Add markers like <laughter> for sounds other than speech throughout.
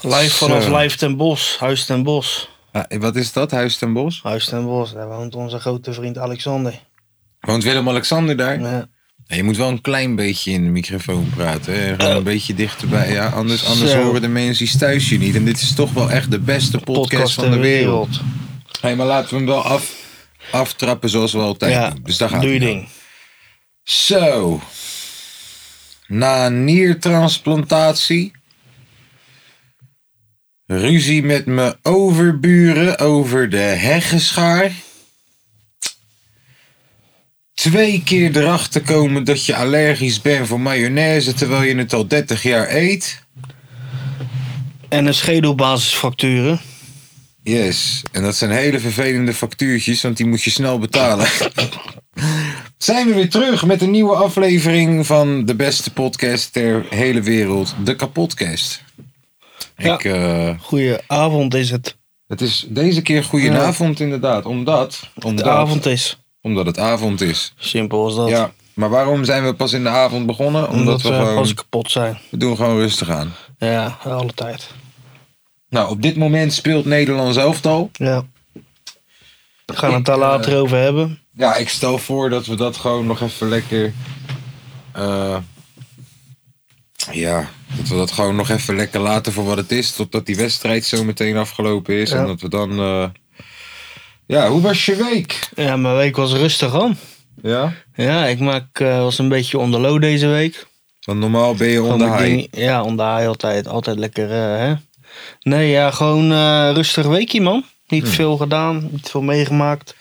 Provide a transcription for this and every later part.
Live van Zo. ons Live ten Bos, Huis ten Bos. Ah, wat is dat, Huis ten Bos? Huis ten Bos, daar woont onze grote vriend Alexander. Woont Willem-Alexander daar? Ja. Nee, Je moet wel een klein beetje in de microfoon praten. Hè? Gewoon een beetje dichterbij. Ja, anders, anders Zo. horen de mensen thuis je niet. En dit is toch wel echt de beste podcast, van de wereld. Hey, maar laten we hem wel af, aftrappen zoals we altijd Ja, doen. Dus daar gaat doe je hij ding. dan. Zo. Na een niertransplantatie. Ruzie met mijn overburen over de heggenschaar. Twee keer erachter komen dat je allergisch bent voor mayonaise terwijl je het al 30 jaar eet. En een schedelbasisfacturen. Yes, en dat zijn hele vervelende factuurtjes, want die moet je snel <laughs> betalen. zijn we weer terug met een nieuwe aflevering van de beste podcast ter hele wereld, de Kapotcast. Ja. Ik, eh, Goeie avond is het. het is deze keer goedenavond inderdaad, omdat, De omdat, avond is. omdat het avond is. Simpel als dat. Ja, maar waarom zijn we pas in de avond begonnen? Omdat, Omdat we we gewoon, pas kapot zijn. we doen gewoon rustig aan. Ja, alle tijd. Nou, op dit moment speelt Nederland elftal. Ja. We gaan het daar Ik, eh, later over hebben. Ja, ik stel voor dat we dat gewoon nog even lekker. eh, ja, dat we dat gewoon nog even lekker laten voor wat het is. Totdat die wedstrijd zo meteen afgelopen is. Ja. En dat we dan. eh, ja, hoe was je week? Ja, mijn week was rustig aan. Ja. Ja, ik maak, eh, was een beetje onder low deze week. Want normaal ben je Gewoon onder dat high. ding- ja, onder high altijd. Altijd lekker, eh, hè? Nee, ja, gewoon eh, rustig weekje, man. Niet Hmm. veel gedaan, niet veel meegemaakt.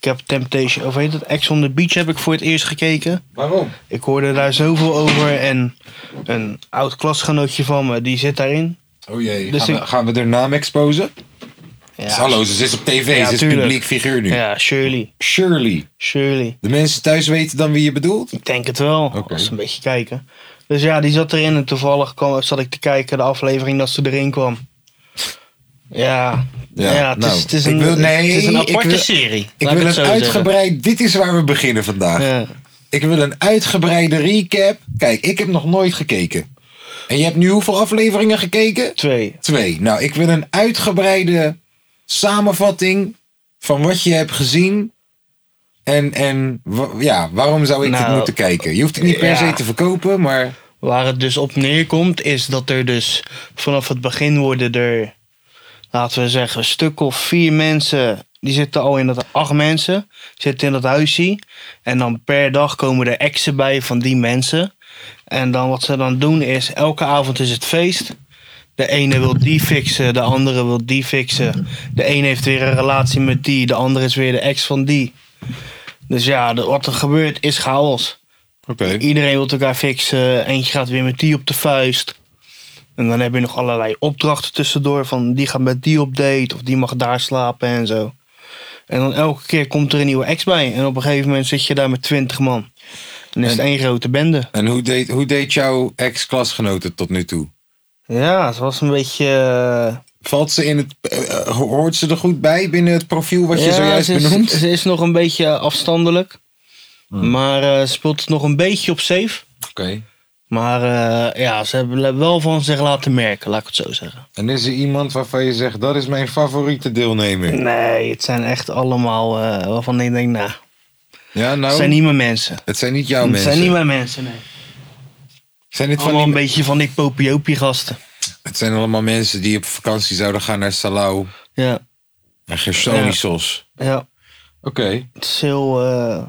Ik heb Temptation, of heet het, Ex on the Beach heb ik voor het eerst gekeken. Waarom? Ik hoorde daar zoveel over en een oud klasgenootje van me, die zit daarin. Oh jee. Dus gaan, ik- we, gaan we haar naam exposen? Ja, Hallo, ze is op tv. Ja, ze is tuurlijk. publiek figuur nu. Ja, Shirley. Shirley. Shirley. De mensen thuis weten dan wie je bedoelt? Ik denk het wel, Oké. als ze een beetje kijken. Dus ja, die zat erin en toevallig kwam, zat ik te kijken de aflevering dat ze erin kwam. Ja, ja, het, nou, is, het, is ik een, wil- nee, het is een ik aparte wil- serie. Ik laat wil het een zo zeggen. uitgebreid. Dit is waar we beginnen vandaag. Ja, Ik wil een uitgebreide recap. Kijk, ik heb nog nooit gekeken. En je hebt nu hoeveel afleveringen gekeken? twee. Twee. Nou, ik wil een uitgebreide samenvatting van wat je hebt gezien. En, en wa- ja, waarom zou ik dit Nou, moeten kijken? Je hoeft het niet per ja. se te verkopen, maar Waar het dus op neerkomt is dat er dus vanaf het begin worden er, laten we zeggen, een stuk of vier mensen. Die zitten al in dat, acht mensen zitten in dat huisje. En dan per dag komen er exen bij van die mensen. En dan wat ze dan doen is, elke avond is het feest. De ene wil die fixen, de andere wil die fixen. De ene heeft weer een relatie met die, de andere is weer de ex van die. Dus ja, de- wat er gebeurt is chaos. oké. Iedereen wil elkaar fixen. Eentje gaat weer met die op de vuist. En dan heb je nog allerlei opdrachten tussendoor. Van die gaat met die op date. Of die mag daar slapen en zo. En dan elke keer komt er een nieuwe ex bij. En op een gegeven moment zit je daar met twintig man. En is het En- één grote bende. En hoe deed, hoe deed jouw ex-klasgenoot het tot nu toe? Ja, het was een beetje... eh, Valt ze in het, eh, eh, hoort ze er goed bij binnen het profiel wat je ja, zojuist ze is, benoemt? Ze is nog een beetje afstandelijk. Maar eh, ze speelt het nog een beetje op safe. Oké. Maar eh, ja, ze hebben wel van zich laten merken. Laat ik het zo zeggen. En is er iemand waarvan je zegt, dat is mijn favoriete deelnemer? Nee, het zijn echt allemaal eh, waarvan ik denk, nou, Ja, nou, het zijn niet mijn mensen. het zijn niet jouw het mensen. zijn niet mijn mensen, nee. Zijn dit van Allemaal die- een beetje van die popiopie gasten. Het zijn allemaal mensen die op vakantie zouden gaan naar Salau Ja, en Gersonisos. ja. Oké. Het is heel... eh,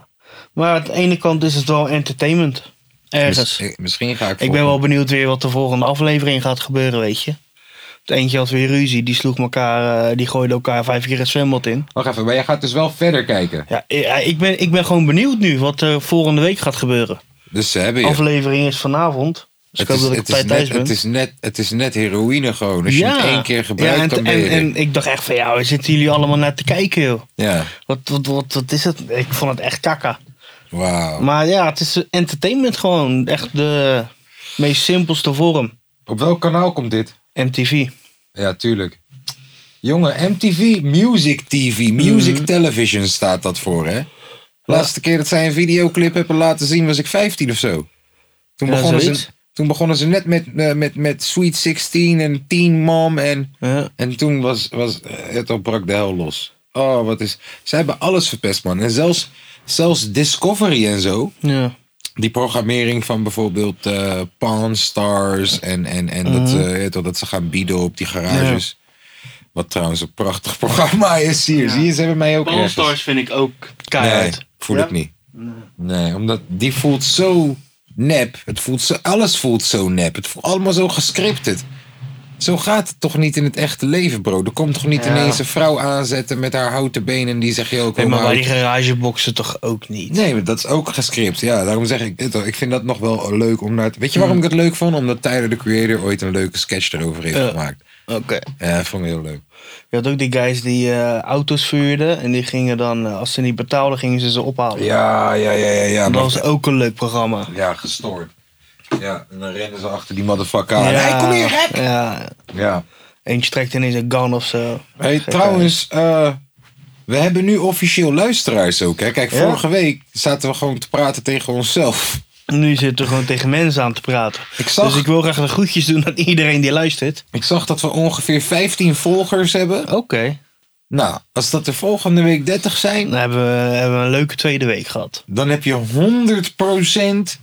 maar aan de ene kant is het wel entertainment. Ergens. Miss- eh, misschien ga ik Ik ben wel benieuwd weer wat de volgende aflevering gaat gebeuren, weet je. Het eentje had weer ruzie, die sloeg elkaar, eh, die gooide elkaar vijf keer het zwembad in. Wacht even, maar jij gaat dus wel verder kijken. Ja, eh, ik ben, ik ben gewoon benieuwd nu wat er volgende week gaat gebeuren. Dus ze hebben je. Aflevering is vanavond. Dus ik hoop dat ik op het, is tijd net, thuis ben. het, is net, het is net heroïne gewoon. Als je het één keer gebruikt, ja, en, dan ben je en, er. en ik dacht echt van, ja, waar zitten jullie allemaal naar te kijken, joh? ja, Wat, wat, wat, wat is het? Ik vond het echt kakka. wauw. Maar ja, het is entertainment gewoon. Echt de meest simpelste vorm. Op welk kanaal komt dit? MTV. Ja, tuurlijk. Jongen, MTV Music TV. Music Mhm. Television staat dat voor, hè? Laatste keer dat zij een videoclip hebben laten zien was ik 15 of zo. Toen, Ja, begonnen, ze, zoiets. toen begonnen ze net met, eh, met, met Sweet 16 en Teen Mom. En, Ja. en toen was, was eh, het al brak de hel los. Oh, wat is... Ze hebben alles verpest, man. En zelfs, zelfs Discovery en zo Ja. die programmering van bijvoorbeeld eh Pawn Stars en, en, en dat, Mhm. eh, weet je wel, dat ze gaan bieden op die garages. Wat trouwens een prachtig <laughs> programma is hier. Zie je, ze hebben mij ook ergens. Ballstars vind ik ook dus- Nee, keihard. voel ik niet. Nee, omdat die voelt zo nep. Het voelt zo, alles voelt zo nep. Het voelt allemaal zo gescripted. Zo gaat het toch niet in het echte leven, bro. Er komt toch niet ineens een vrouw aanzetten met haar houten benen en die zegt, joh, Nee, kom maar bij hout. die garageboxen toch ook niet? Nee, maar dat is ook gescript. Ja, daarom zeg ik dit. al. Ik vind dat nog wel leuk om naar te... Weet je Mm. waarom ik het leuk vond? Omdat Tyler, de creator, ooit een leuke sketch erover heeft Ja. gemaakt. Oké. Ja, dat vond ik heel leuk. Je had ook die guys die eh, auto's vuurden. En die gingen dan, eh, als ze niet betaalden, gingen ze ze ophalen. Ja, ja, ja, ja. ja. dat maar- was ook een leuk programma. Ja, gestoord. Ja, en dan rennen ze achter die motherfucker aan. Ja. Hey, Ah, kom hier, gek! Ja. Ja. Eentje trekt ineens een gun of zo. Hey, Gekke- trouwens, eh, we hebben nu officieel luisteraars ook. Hè? Kijk, Ja. vorige week zaten we gewoon te praten tegen onszelf. Nu zitten we gewoon tegen mensen aan te praten. Ik zag- Dus ik wil graag de groetjes doen aan iedereen die luistert. Ik zag dat we ongeveer 15 volgers hebben. Oké. Nou, als dat er volgende week 30 zijn, Dan hebben we, hebben we een leuke tweede week gehad. dan heb je 100%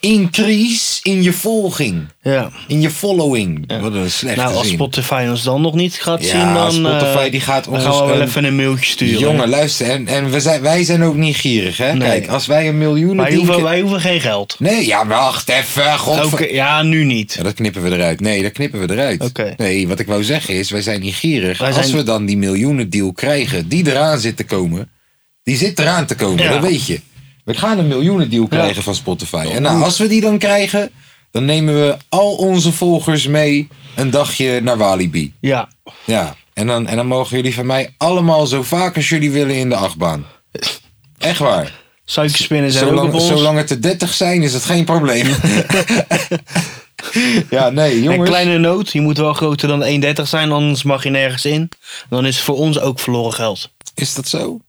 increase in je volging. Ja. In je following. Wat een slechte nou, als zin. Spotify ons dan nog niet gaat Ja, zien, dan, Spotify eh, die gaat dan ons gaan we wel een- even een mailtje sturen. Jongen, luister. En, en we zijn, wij zijn ook niet gierig, hè? Nee. Kijk, als wij een miljoen... wij, ding- hoeven, wij hoeven geen geld. Nee, ja, wacht even. Godver... Oké, ja, nu niet. Ja, dat knippen we eruit. Nee, dat knippen we eruit. Oké. Nee, wat ik wou zeggen is, wij zijn niet gierig. Wij Als zijn- we dan die miljoenen deal krijgen, die eraan zit te komen. Die zit eraan te komen, Ja. dat weet je. We gaan een miljoenen deal krijgen van Spotify. En nou, als we die dan krijgen, dan nemen we al onze volgers mee een dagje naar Walibi. Ja. Ja, en dan, en dan mogen jullie van mij allemaal zo vaak als jullie willen in de achtbaan. Echt waar. Suikerspinnen zijn ook op Zolang, ons. zolang het er 30 zijn, is het geen <laughs> probleem. ja, nee, Een jongens. kleine noot, je moet wel groter dan 1,30 zijn, anders mag je nergens in. Dan is het voor ons ook verloren geld. Is dat zo?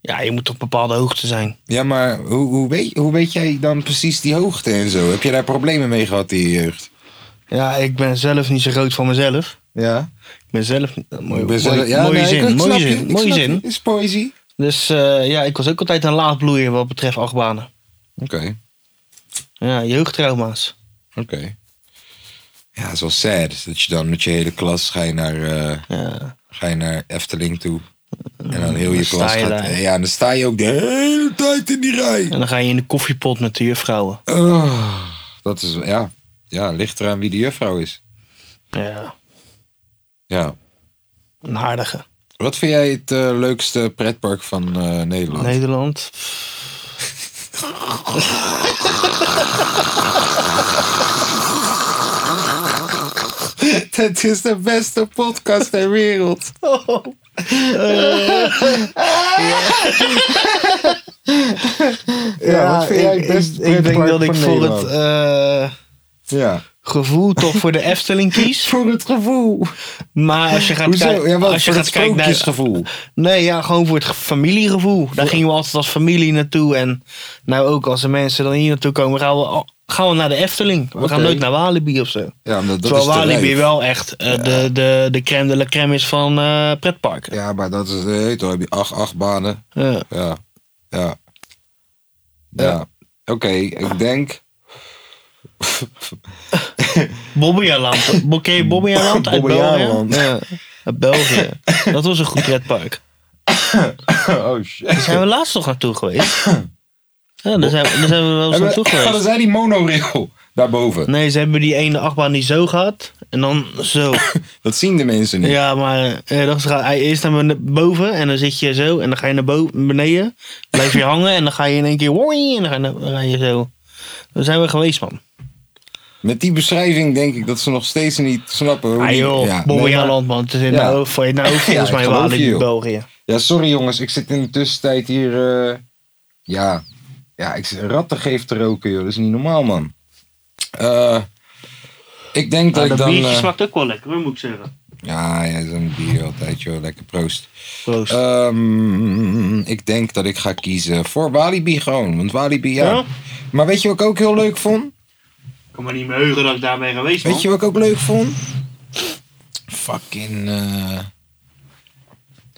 Ja, je moet op bepaalde hoogte zijn. Ja, maar hoe, hoe, weet, hoe weet jij dan precies die hoogte en zo? Heb je daar problemen mee gehad in je jeugd? Ja, ik ben zelf niet zo groot van mezelf. Ja. Ik ben zelf niet... eh, Mooi, Ik ben mooi- zelf- ja, mooie nee, ik- zin, ik mooie snap je, zin, ik mooie snap zin. je. Is poëzie. Dus eh, ja, ik was ook altijd een laagbloeier wat betreft achtbanen. Oké, Ja, jeugdtrauma's. oké. Ja, het is wel sad dat je dan met je hele klas ga je naar, eh, Ja. ga je naar Efteling toe. En dan heel je sta klas je gaat... daar. Ja, en dan sta je ook de hele tijd in die rij. En dan ga je in de koffiepot met de juffrouwen. Oh, dat is... Ja. ja, ligt eraan wie de juffrouw is. Ja, Ja. een aardige. Wat vind jij het eh, leukste pretpark van eh, Nederland? Nederland. Het is de beste podcast ter <laughs> wereld. Oh. ja. wat vind jij het beste ik denk pretpark dat ik van voor het Nederland? eh, Ja. gevoel toch voor de <laughs> Efteling kies. Voor het gevoel. Maar als je gaat, Hoezo? kijken- Ja, wat, als je voor het gaat kijken naar... sprookjesgevoel. Nee, ja, gewoon voor het ge- familiegevoel. Daar gingen we altijd als familie naartoe. En nou ook als de mensen dan hier naartoe komen, gaan we, al- gaan we naar de Efteling. We Oké. gaan nooit naar Walibi of zo. Ja, omdat dat Terwijl is te Walibi lijf. wel echt eh, de, de, de crème de la crème is van eh pretparken. Ja, maar dat is... Hey, dan heb je acht, acht banen. Ja. Ja. Ja. Ja. Oké, ik <laughs> denk... Bobbejaarland. Bo- Ken je Bobbejaarland uit België? Bobbejaarland. Ja, uit België. Dat was een goed <laughs> pretpark. Oh, shit. Daar zijn we laatst nog naartoe geweest. Ja, daar zijn, we- daar zijn we wel eens Hebben, <laughs> naartoe hadden geweest. zij die monorail <laughs> daarboven? Nee, ze hebben die ene achtbaan die zo gaat. En dan zo. Dat zien de mensen niet. Ja, maar eh, dan ga je eerst naar bene- boven. En dan zit je zo. En dan ga je naar bo- beneden. Blijf je hangen. En dan ga je in één keer. woi, En dan ga je, dan ga je zo. Daar zijn we geweest, man. Met die beschrijving denk ik dat ze nog steeds niet snappen. hoe Ah die- joh, ja, nee, maar- Bobbejaanland man. Het is in Ja. de hoofd, voor- in de hoofd <laughs> Ja, volgens ik mij geloof je, Walibi joh. België. Ja, sorry jongens, ik zit in de tussentijd hier. eh, ja, ja ik, zit- ratten geeft te roken, joh. Dat is niet normaal, man. Eh, ik Ah, denk Nou, dat ik dan. eh, ook wel lekker, moet ik zeggen. ja, ja, zo'n bier altijd, joh. Lekker proost. Proost. Ehm, ik denk dat ik ga kiezen voor Walibi gewoon. Want Walibi, ja. Ja? Maar weet je wat ik ook heel leuk vond? ik kan me niet meer heugen dat ik daar ben geweest Weet je wat ik ook leuk vond? Fucking. eh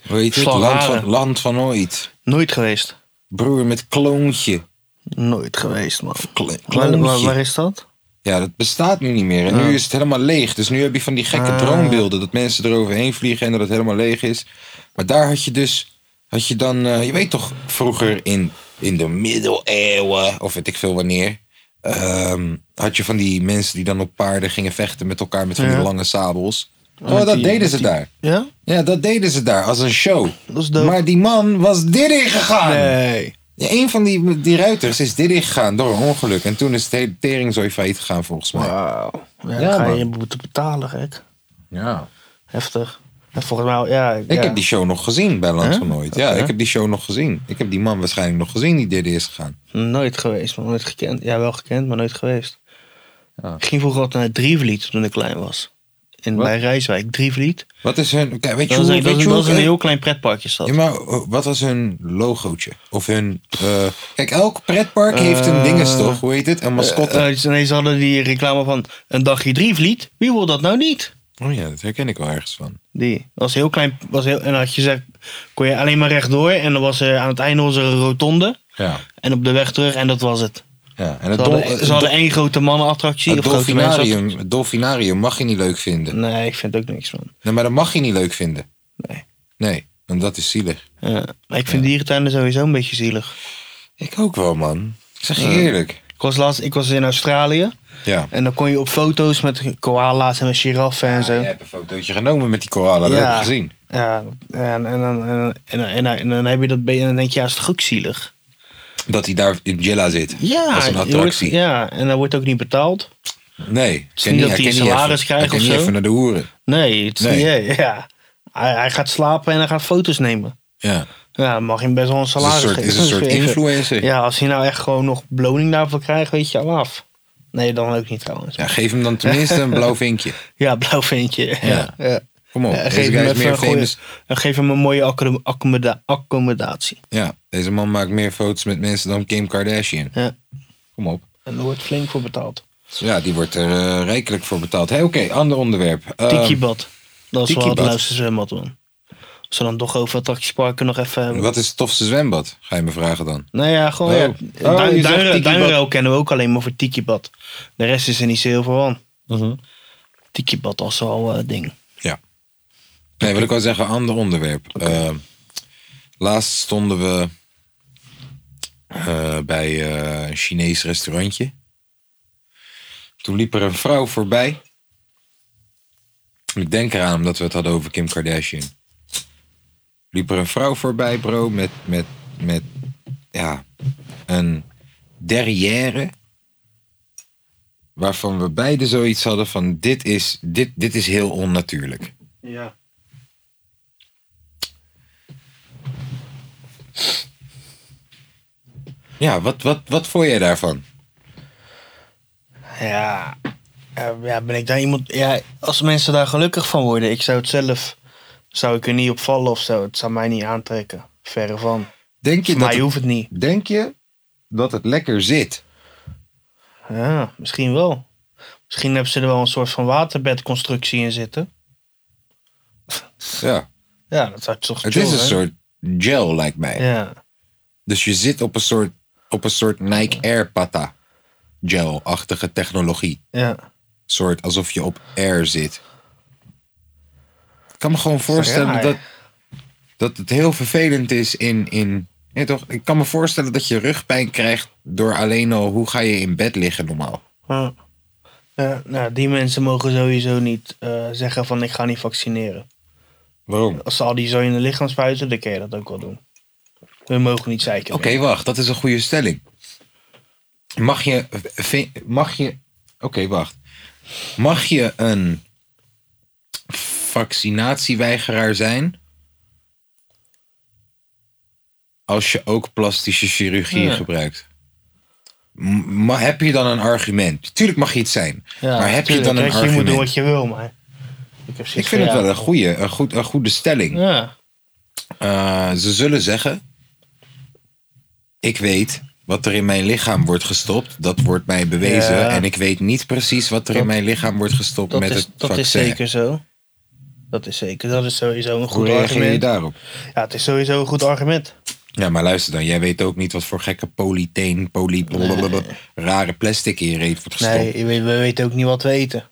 hoe heet het? Land Slagharen. van, land van ooit. Nooit geweest. Broer met kloontje. Nooit geweest man. Kle- Waar, waar- waar Kloontje. is dat? Ja, dat bestaat nu niet meer. En nu is het helemaal leeg. Dus nu heb je van die gekke Ah. droombeelden. Dat mensen eroverheen vliegen en dat het helemaal leeg is. Maar daar had je dus... Had je dan... eh, je weet toch vroeger in, in de middeleeuwen... Of weet ik veel wanneer... ehm, had je van die mensen die dan op paarden gingen vechten met elkaar met van die Ja. lange sabels. Oh, met dat die- deden met ze die- daar. Ja? Ja, dat deden ze daar als een show. Dat is dope. Maar die man was dit in gegaan. Nee. Ja, een van die, die ruiters is dit ingegaan door een ongeluk. En toen is het hele teringzooi failliet gegaan volgens mij. Wauw. Ja, Ja, ga je man. moeten betalen gek. Ja. Heftig. En volgens mij, ja. Ik heb die show nog gezien bij Land Hè? van Nooit. Ja, Oké. ik heb die show nog gezien. Ik heb die man waarschijnlijk nog gezien die dit is gegaan. Nooit geweest, maar nooit gekend. Ja, wel gekend, maar nooit geweest. Ik ging vroeger altijd naar Drievliet toen ik klein was. In, Wat? bij Rijswijk, Drievliet. Wat is hun... Kijk, weet je Dat was hoe... een, dat weet was je een, dat was hoe- eh, een heel klein pretparkje Ja, stad. maar eh, wat was hun logootje? Of hun... eh, kijk, elk pretpark heeft een dinges toch? Hoe heet het? Een mascotte. Eh, eh, nee, ze hadden die reclame van een dagje Drievliet. Wie wil dat nou niet? oh ja, dat herken ik wel ergens van. Die was heel klein. Was heel, en had je gezegd, kon je alleen maar rechtdoor. En dan was er aan het einde onze rotonde. Ja. En op de weg terug en dat was het. ja. En Ze het, dol- hadden, ze hadden één grote mannenattractie. het of grote mensenattractie. dolfinarium, het dolfinarium mag je niet leuk vinden. Nee, ik vind ook niks van. Nee, maar dat mag je niet leuk vinden. Nee. Nee, want dat is zielig. Ja, maar ik vind dierentuinen sowieso een beetje zielig. Ik ook wel, man. Ik zeg je Eh. eerlijk. Ik was, laatst, ik was in Australië Ja. en dan kon je op foto's met koala's en met giraffen en zo. Je Ah, hebt een fotootje genomen met die koralen, dat Ja. heb ik gezien. Ja, en, en, dan- en, en, en, en dan heb je dat bij en dan denk je, ja, is toch ook zielig? Dat hij daar in Jilla zit. Ja, Als een je wordt- attractie. ja, en dat wordt ook niet betaald. Nee. is niet dat hij een salaris krijgt Ik of niet zo. even naar de hoeren. Nee, het is Nee. niet- <laughs> ja. Hij, hij gaat slapen en hij gaat foto's nemen. Ja. Ja, dan mag je hem best wel een Is een salaris soort, geven. is een soort Even- influencer. Ja. <laughs> Ja, als hij nou echt gewoon nog beloning daarvoor krijgt, weet je al af. Nee, dan ook niet trouwens. Ja, geef hem dan tenminste <laughs> een blauw vinkje. blauw ventje. Ja. Ja. <laughs> ja. Kom op. Ja, deze Eh, geef, guy hem is even meer een goeie, famous. en geef hem een mooie accom- accommoda- accommodatie. Ja, deze man maakt meer foto's met mensen dan Kim Kardashian. Ja. Kom op. En er wordt flink voor betaald. Ja, die wordt er eh, rijkelijk voor betaald. Hey, Oké, ander onderwerp. Ehm, Eh, Tikibad. Dat is wel het Tikibad. leukste zwembad, man. Als we dan toch over attractieparken nog even hebben. wat is het tofste zwembad? Ga je me vragen dan? Nou ja, gewoon. Oh. Ja, Oh, Duin- je zegt Duinruil- Tikibad. Duinruil kennen we ook alleen maar voor Tikibad. De rest is er niet zo heel veel van. Tikibad was wel eh, ding. Nee, wil ik wel zeggen, ander onderwerp. Eh, laatst stonden we eh, bij eh, een Chinees restaurantje. Toen liep er een vrouw voorbij. Ik denk eraan omdat we het hadden over Kim Kardashian. Liep er een vrouw voorbij, bro, met, met, met ja, een derrière. Waarvan we beide zoiets hadden van: dit is, dit, dit is heel onnatuurlijk. Ja. Ja, wat, wat, wat vond jij daarvan? Ja, eh, ja, ben ik daar iemand. Ja, als mensen daar gelukkig van worden, ik zou het zelf. Zou ik er niet op vallen of zo? Het zou mij niet aantrekken. Verre van. Denk je, Voor dat mij het, hoeft het niet. denk je dat het lekker zit? Ja, misschien wel. Misschien hebben ze er wel een soort van waterbedconstructie in zitten. Ja, Ja, dat zou toch het chill is een zijn? soort gel, lijkt mij. Ja. Dus je zit op een soort, op een soort Nike Air Pata gel-achtige technologie. Ja. soort alsof je op air zit. Ik kan me gewoon voorstellen raar. dat, dat het heel vervelend is in. in ja, toch? Ik kan me voorstellen dat je rugpijn krijgt door alleen al hoe ga je in bed liggen normaal. Ja. Ja, nou, die mensen mogen sowieso niet eh, zeggen van ik ga niet vaccineren. Waarom? Als ze al die zo in de lichaam spuiten, dan kun je dat ook wel doen. We mogen niet zeiken. Oké, wacht. Dat is een goede stelling. Mag je... vi- Mag je... Oké, wacht. Mag je een vaccinatieweigeraar zijn? Als je ook plastische chirurgie Ja. gebruikt. M- Maar heb je dan een argument? Tuurlijk mag je het zijn. maar heb je tuurlijk. dan een Kijk, Je moet argument? doen wat je wil, maar... Ik, heb zoiets Ik van, vind het ja. wel een goede, een goed, een goede stelling. Ja, Eh, ze zullen zeggen: Ik weet wat er in mijn lichaam wordt gestopt. Dat wordt mij bewezen. Ja. En ik weet niet precies wat er in Dat- mijn lichaam wordt gestopt dat, met is, het dat vaccin. is zeker zo. Dat is zeker. Dat is sowieso een Hoe goed reageer je argument. daarop? Ja, het is sowieso een goed argument. Ja, maar luister dan. Jij weet ook niet wat voor gekke polyteen, poly, blablabla, rare plastic in je reet wordt gestopt. Nee, Nee, je weet- we weten ook niet wat we eten.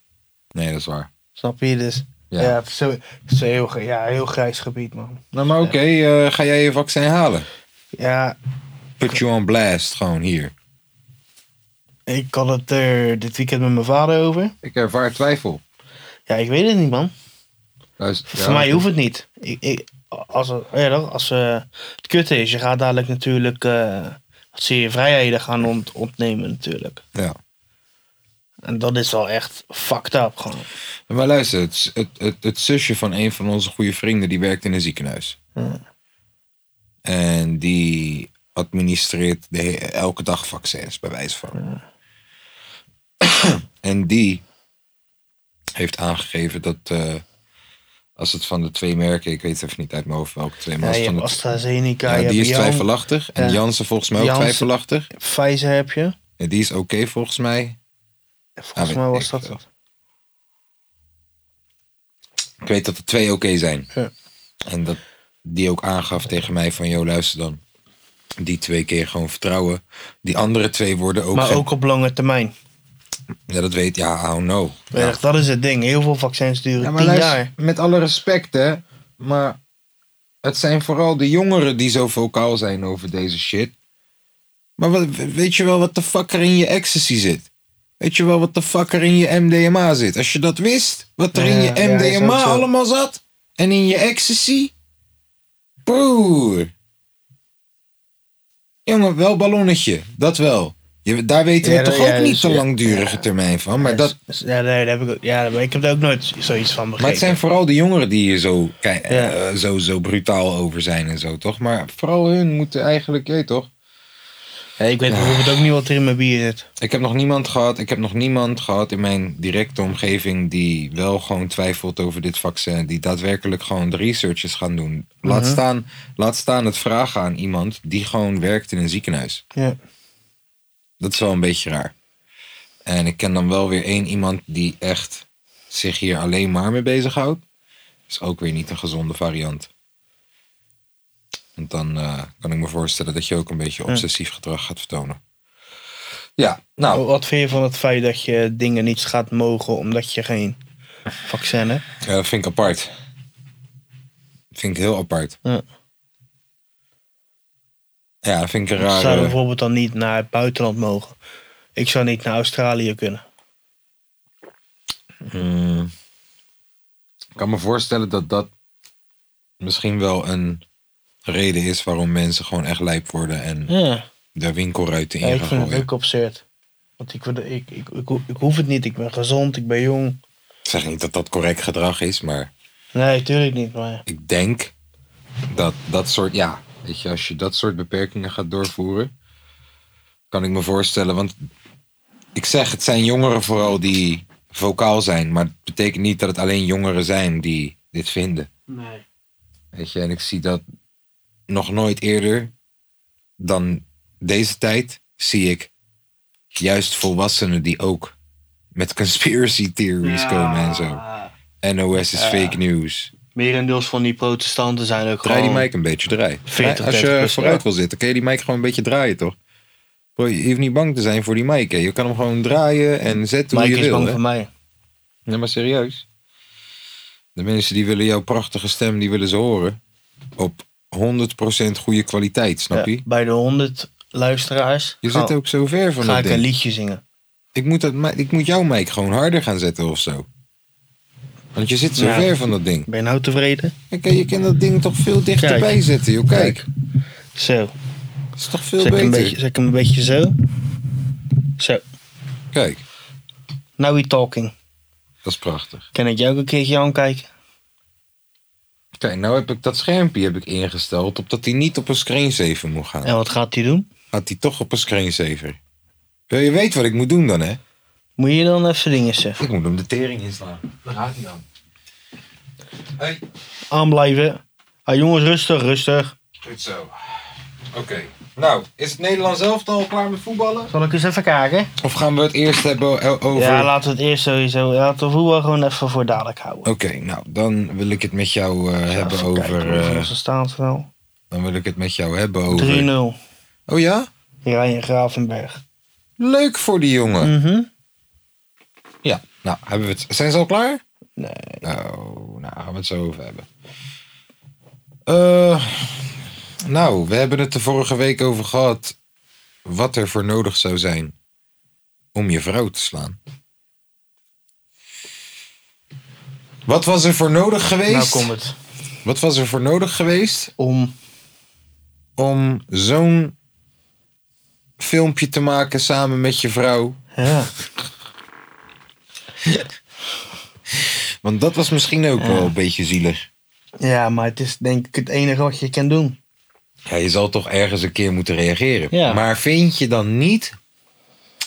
dat is waar. Snap je? Dus Ja. ja, het is zo, het is een heel, gr- ja, heel grijs gebied, man. Nou, maar oké, eh, ga jij je vaccin halen? Ja, Put you on blast, gewoon hier. ik had het er dit weekend met mijn vader over. Ik ervaar twijfel. Ja, ik weet het niet, man. Luister, Voor mij hoeft het niet. Ik, ik, als het, ja, toch, als eh, het kut is, je gaat dadelijk natuurlijk... eh zie je vrijheden gaan ont, ontnemen natuurlijk. Ja. En dat is wel echt fucked up gewoon. Maar luister, het, het, het, het zusje van een van onze goede vrienden, die werkt in een ziekenhuis. Ja. En die administreert de he- elke dag vaccins, bij wijze van. en die heeft aangegeven dat eh, als het van de twee merken, ik weet even niet uit mijn hoofd welke twee, maar Ja, als je het hebt van de, AstraZeneca, ja, je die hebt is Jan- twijfelachtig. En Ja. Janssen volgens mij ook Janssen. twijfelachtig. Pfizer heb je. En die is oké volgens mij. Ah, Volgens weet mij ik eh, was dat veel. het. Ik weet dat er twee oké zijn. Ja. En dat die ook aangaf tegen mij van, joh, luister dan. Die twee keer gewoon vertrouwen. Die andere twee worden ook... Maar geen- ook op lange termijn. Ja, dat weet... Ja, oh no. Ja. Dat is het ding. Heel veel vaccins duren Ja, maar 10 luister, jaar. met alle respect, hè. Maar het zijn vooral de jongeren die zo vocaal zijn over deze shit. Maar wat, weet je wel wat de fuck er in je ecstasy zit? Weet je wel wat de fuck er in je MDMA zit? Als je dat wist, wat er in Ja, je ja, is MDMA ook zo. allemaal zat. En in je ecstasy. Broer. Jongen, wel ballonnetje. Dat wel. Je, daar weten we Ja, dat- toch ook ja, niet dus de ja. langdurige termijn van. Maar dat, Dus, Ja, nee, daar heb ik, ook- ja, maar ik heb daar ook nooit zoiets van begrepen. maar het zijn vooral de jongeren die hier zo, kei- Ja. eh, zo, zo brutaal over zijn en zo, toch? Maar vooral hun moeten eigenlijk, je weet toch? Ja, ik weet bijvoorbeeld ook niet wat er in mijn bier zit. Ik heb nog niemand gehad, ik heb nog niemand gehad in mijn directe omgeving die wel gewoon twijfelt over dit vaccin. Die daadwerkelijk gewoon de research is gaan doen. Laat, staan, laat staan het vragen aan iemand die gewoon werkt in een ziekenhuis. Ja. Dat is wel een beetje raar. En ik ken dan wel weer één iemand die echt zich hier alleen maar mee bezighoudt. Is ook weer niet een gezonde variant. Want dan eh, kan ik me voorstellen dat je ook een beetje obsessief gedrag gaat vertonen. Ja, nou, Wat vind je van het feit dat je dingen niet gaat mogen omdat je geen vaccin hebt? eh, dat vind ik apart. Vind ik heel apart. Ja. Ja, dat vind ik een Je zou raar. bijvoorbeeld dan niet naar het buitenland mogen. Ik zou niet naar Australië kunnen. Ik kan me voorstellen dat dat misschien wel een reden is waarom mensen gewoon echt lijp worden en Ja, de winkelruiten ja in ik gaan vind het gooien. ook absurd. Want ik, word- ik, ik, ik, ho- ik hoef het niet. Ik ben gezond, ik ben jong. Ik zeg niet dat dat correct gedrag is, maar Nee, tuurlijk niet. Maar ik denk dat dat soort, ja, weet je, als je dat soort beperkingen gaat doorvoeren, kan ik me voorstellen, want ik zeg, het zijn jongeren vooral die vocaal zijn, maar het betekent niet dat het alleen jongeren zijn die dit vinden. nee. Weet je, en ik zie dat nog nooit eerder dan deze tijd zie ik juist volwassenen die ook met conspiracy theories komen en zo. NOS is fake news. Merendeels van die protestanten zijn ook Draai die gewoon... mic een beetje, draai. 40, Als je 30%, vooruit ja. wil zitten, kun je die mic gewoon een beetje draaien, toch? Bro, je hoeft niet bang te zijn voor die mic, hè. Je kan hem gewoon draaien en zetten hoe Mike je is wil, bang hè. voor mij. Nee, maar serieus. De mensen die willen jouw prachtige stem, die willen ze horen. Op 100% goede kwaliteit, snap Ja, je? bij de 100 luisteraars Je ga, zit ook zo ver van ga dat ik een ding. liedje zingen. Ik moet, dat, mi- ik moet jouw mic gewoon harder gaan zetten of zo. Want je zit zo Ja. ver van dat ding. Ben je nou tevreden? Oké, je kan dat ding toch veel dichterbij Kijk. zetten, joh. Kijk, Kijk. Zo. dat is toch veel Zet ik, hem beter. een beetje, zet ik hem een beetje zo. Zo. Kijk, Now we talking. Dat is prachtig. Kan ik jou ook een keertje aankijken? Kijk, nou heb ik dat schermpje heb ik ingesteld op dat hij niet op een screensaver moet gaan. En wat gaat hij doen? Gaat hij toch op een screensaver. Wil je weten wat ik moet doen dan, hè? Moet je dan even dingen zeggen? Ik moet hem de tering inslaan. Daar gaat hij dan. Hey. Aanblijven. Ah jongens, rustig, rustig. Goed zo. Oké. Nou, is het Nederlands elftal al klaar met voetballen? Zal ik eens even kijken? Of gaan we het eerst hebben o- over... Ja, laten we het eerst sowieso. Laten we voetbal gewoon even voor dadelijk houden. Oké, nou, dan wil ik het met jou eh, hebben Even over... kijken, eh, Hoeveel staat het wel? dan wil ik het met jou hebben over... 3-0. Oh ja? Ryan Gravenberg. Leuk voor die jongen. Mhm. Ja, nou, hebben we het... Zijn ze al klaar? Nee. Nou, nou gaan we het zo over hebben. Eh, nou, we hebben het de vorige week over gehad. Wat er voor nodig zou zijn om je vrouw te slaan. Wat was er voor nodig Nou geweest? komt het. Wat was er voor nodig geweest Om. om zo'n filmpje te maken samen met je vrouw? Ja. Want dat was misschien ook wel een beetje zielig. ja, maar het is denk ik het enige wat je kan doen. Ja, je zal toch ergens een keer moeten reageren. Ja. Maar vind je dan niet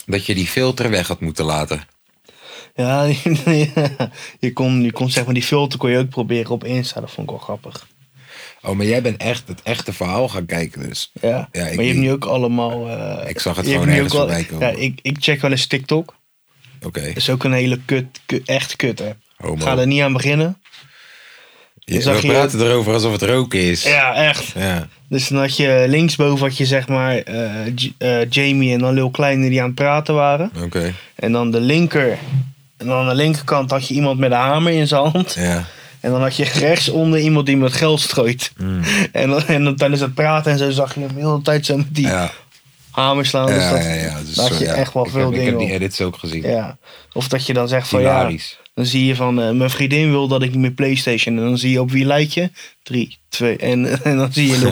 dat je die filter weg had moeten laten? Ja, <laughs> je kon, je kon zeg maar die filter kon je ook proberen op Insta. Dat vond ik wel grappig. Oh, maar jij bent echt het echte verhaal gaan kijken dus. Ja, Ja, ik maar je hebt niet. nu ook allemaal... eh, Ik zag het je hebt gewoon nu ergens ook wel- voorbij komen. Ja, ik, ik check wel eens TikTok. Oké, Dat is ook een hele kut, kut- echt kut hè. homo. Dus Ga er niet aan beginnen. Je- zag We je- praten erover alsof het roken is. Ja, echt. Ja. Dus dan had je linksboven had je zeg maar eh, J- eh, Jamie en dan Lil Kleine die aan het praten waren. oké. En dan de linker. En dan aan de linkerkant had je iemand met een hamer in zijn hand. Ja. En dan had je rechtsonder iemand die met geld strooit. Mm. <laughs> En, dan, en dan tijdens het praten en zo zag je hem de hele tijd zo met die Ja, hamer slaan. ja, Dus ja, dat, ja, ja. Dus daar had zo, je ja. echt wel ik heb, veel Ik dingen heb die op. edits ook gezien. Ja. Of dat je dan zegt van ja, Hilarisch. dan zie je van eh, mijn vriendin wil dat ik niet meer Playstation. En dan zie je op wie lijkt je? Drie, twee. En, <laughs> en dan zie je heel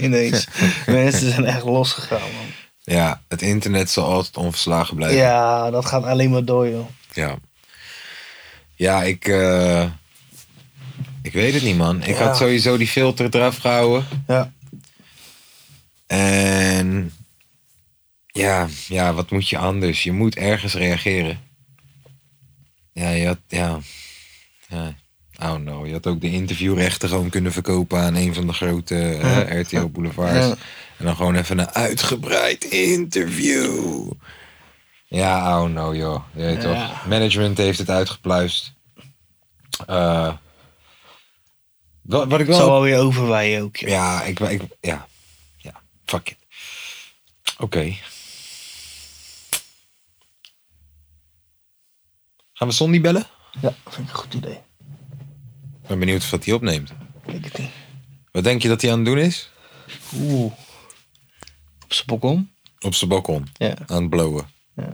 <laughs> ineens. Mensen zijn echt losgegaan man. Ja. het internet zal altijd onverslagen blijven. Ja, dat gaat alleen maar door joh. Ja. Ja, ik... eh, ik weet het niet, man. Ik Ja. had sowieso die filter eraf gehouden. Ja. En ja, ja, wat moet je anders? Je moet ergens reageren. Ja, je had, ja, ja. I don't know. Je had ook de interviewrechten gewoon kunnen verkopen aan een van de grote eh, RTL Boulevards. Ja. En dan gewoon even een uitgebreid interview. Ja, I don't know, joh. Je weet Ja. toch. Management heeft het uitgepluist. Eh, wat, wat ik Het wel zal wel weer overwijen ook joh. ja, ik, ik ja. Ja, fuck it. Oké. Gaan we Sonny bellen? Ja, vind ik een goed idee. Ik ben benieuwd wat hij opneemt. Weet het niet. Wat denk je dat hij aan het doen is? Oeh. Op zijn balkon? Op zijn balkon, Ja. aan het blowen. Ja.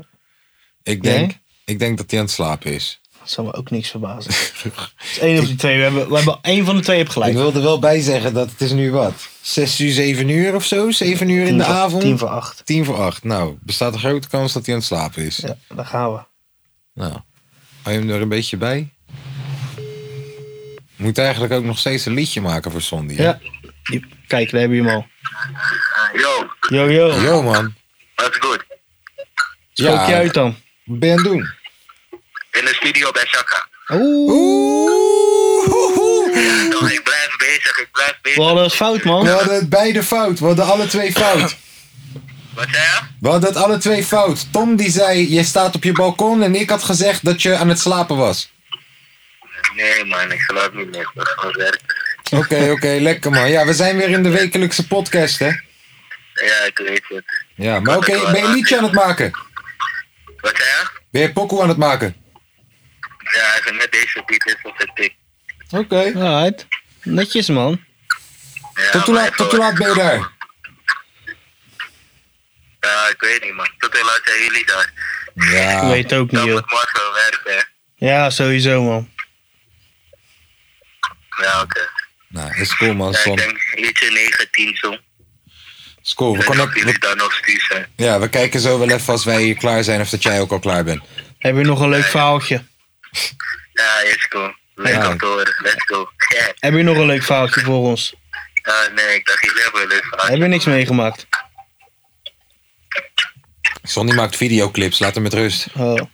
Ik, Jij? denk, ik denk dat hij aan het slapen is. Dat zou me ook niks verbazen. Het <laughs> is één of die twee. We hebben, we hebben één van de twee heb Ik gelijk. wil er wel bij zeggen dat het is nu wat? 6 uur, 7 uur of zo? 7 uur in Tien de voor- avond? Tien voor acht. 10 voor 8. Nou, bestaat een grote kans dat hij aan het slapen is. Ja, daar gaan we. Nou, hou je hem er een beetje bij? Moet eigenlijk ook nog steeds een liedje maken voor Sondi. hè? Ja. Die- Kijk, daar hebben we hem al. Yo, Yo, yo. Yo man. that's good. Spreek Ja. je uit dan. Ben je aan het doen? In de studio bij Shaka. Oeh. Oeh. Nou, ik blijf bezig, ik blijf We bezig. hadden het fout, We man. hadden het beide fout. We hadden alle twee fout. Wat zei je? We hadden het alle twee fout. Tom die zei, je staat op je balkon. En ik had gezegd dat je aan het slapen was. Nee man, ik slaap niet meer. Dat is gewoon werk. Oké, <laughs> oké. lekker man. Ja, we zijn weer in de wekelijkse podcast hè. Ja, ik weet het. Ja, maar oké. ben je een liedje aan het maken? Wat zei je? Ben je pokoe aan het maken? Ja, even met deze beat is op de tik. Oké. Alright. Netjes, man. Ja, Tot hoe maar laat- ik tot hoe hoor- laat ben je daar? Ja, ik weet niet man. Tot hoe laat zijn jullie daar? Ja. Ik weet het ook niet, Dan joh. moet morgen werken. hè. Ja, sowieso, man. Ja, oké. Nou, is cool man, Ja, ik Son. denk ietsje 19 zo. Is cool. We, Ik denk dat connect, jullie we- daar nog stuur zijn. ja, we kijken zo wel even als wij hier klaar zijn of dat jij ook al klaar bent. Heb je nog een leuk verhaaltje? is cool. Leuk Ja. om te horen. Let's go. Ja. Heb je nog een leuk verhaaltje voor ons? Ah, nee, ik dacht, jullie hebben wel eens Heb je niks meegemaakt? Sonny maakt videoclips, laat hem met rust. Oh. <laughs>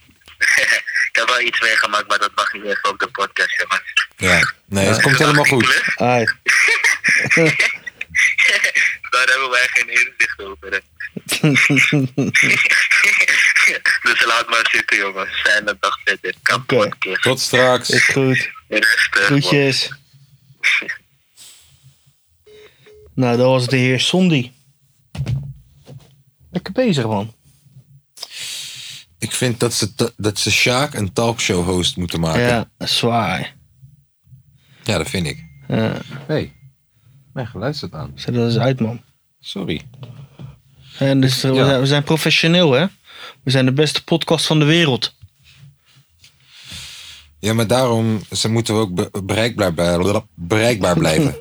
Ik heb wel iets meegemaakt, maar dat mag niet even op de podcast, jongens. Ja. Nee, het komt helemaal goed. Ai. Daar hebben wij geen inzicht over. hè. <laughs> dus laat maar zitten, jongens. Zijn een dag verder. Oké. Kapot, keer. eh, Tot straks. Is goed. Rustig. man. Groetjes. <laughs> Nou, dat was de heer Sondi. Lekker bezig, man. Ik vind dat ze, ta- dat ze Sjaak een talkshow host moeten maken. Ja, Ja, zwaar. dat vind ik. Ja, Hey, mijn geluid staat aan. zet dat eens uit, man. Sorry. En dus, eh, we, Ja. zijn, we zijn professioneel, hè? We zijn de beste podcast van de wereld. Ja, maar daarom ze moeten we ook be- bereikbaar, bij- bereikbaar <laughs> blijven.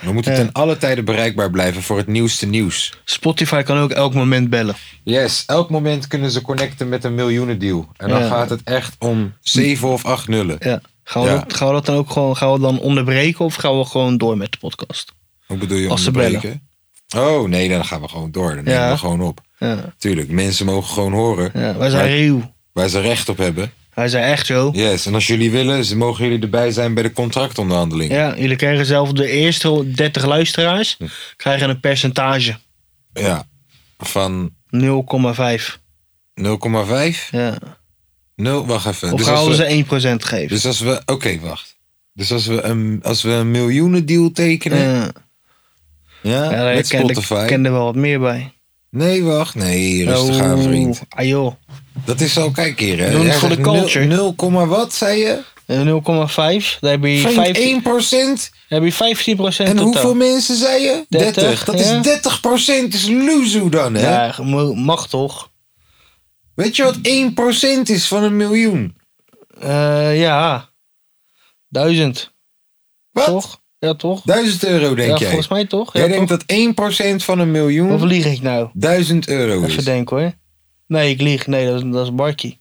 We moeten ten alle tijden bereikbaar blijven voor het nieuwste nieuws. Spotify kan ook elk moment bellen. Yes, elk moment kunnen ze connecten met een miljoenendeal. En dan Ja. gaat het echt om zeven of acht nullen. Ja. Gaan we, Ja. Dat, gaan we dat dan ook gewoon gaan we dan onderbreken of gaan we gewoon door met de podcast? Hoe bedoel je Als ze onderbreken? Oh nee, dan gaan we gewoon door. Dan Ja. nemen we gewoon op. Ja, Tuurlijk, mensen mogen gewoon horen ja. wij zijn Maar- ruw. waar ze recht op hebben. Wij zijn echt zo. Yes, en als jullie willen, ze mogen jullie erbij zijn bij de contractonderhandeling. Ja, Hm. jullie krijgen zelf de eerste 30 luisteraars, krijgen een percentage. Ja. Van 0,5. 0,5? Ja. 0, wacht even. Of dus gaan we als we, ze 1% geven? dus als we oké, wacht. Dus als we een, als we een miljoenendeal tekenen, Ja, ja, ja, daar met ken, ik Spotify. ken er wel wat meer bij. Nee, wacht. Nee, rustig Oh, aan, vriend. Ah joh, Dat is al, kijk hier. hè. We doen het Jij voor de zegt nul- culture. 0, komma wat, zei je? Eh, 0,5. Daar heb je, Vriend, 15, 1%? heb je 15 En totaal. hoeveel mensen zei je? 30. 30, Dat ja. is 30% is loezoe dan, hè? Ja, mo- mag toch? Weet je wat 1% is van een miljoen? Eh, ja. Duizend, Wat? toch? Ja, toch? 1000 euro, denk ja, jij? volgens mij toch? jij ja, denkt toch? dat 1% van een Of miljoen lieg ik nou? 1000 euro Even is. 1% denken hoor. Nee, ik lieg. Nee, dat is, dat is Barkie.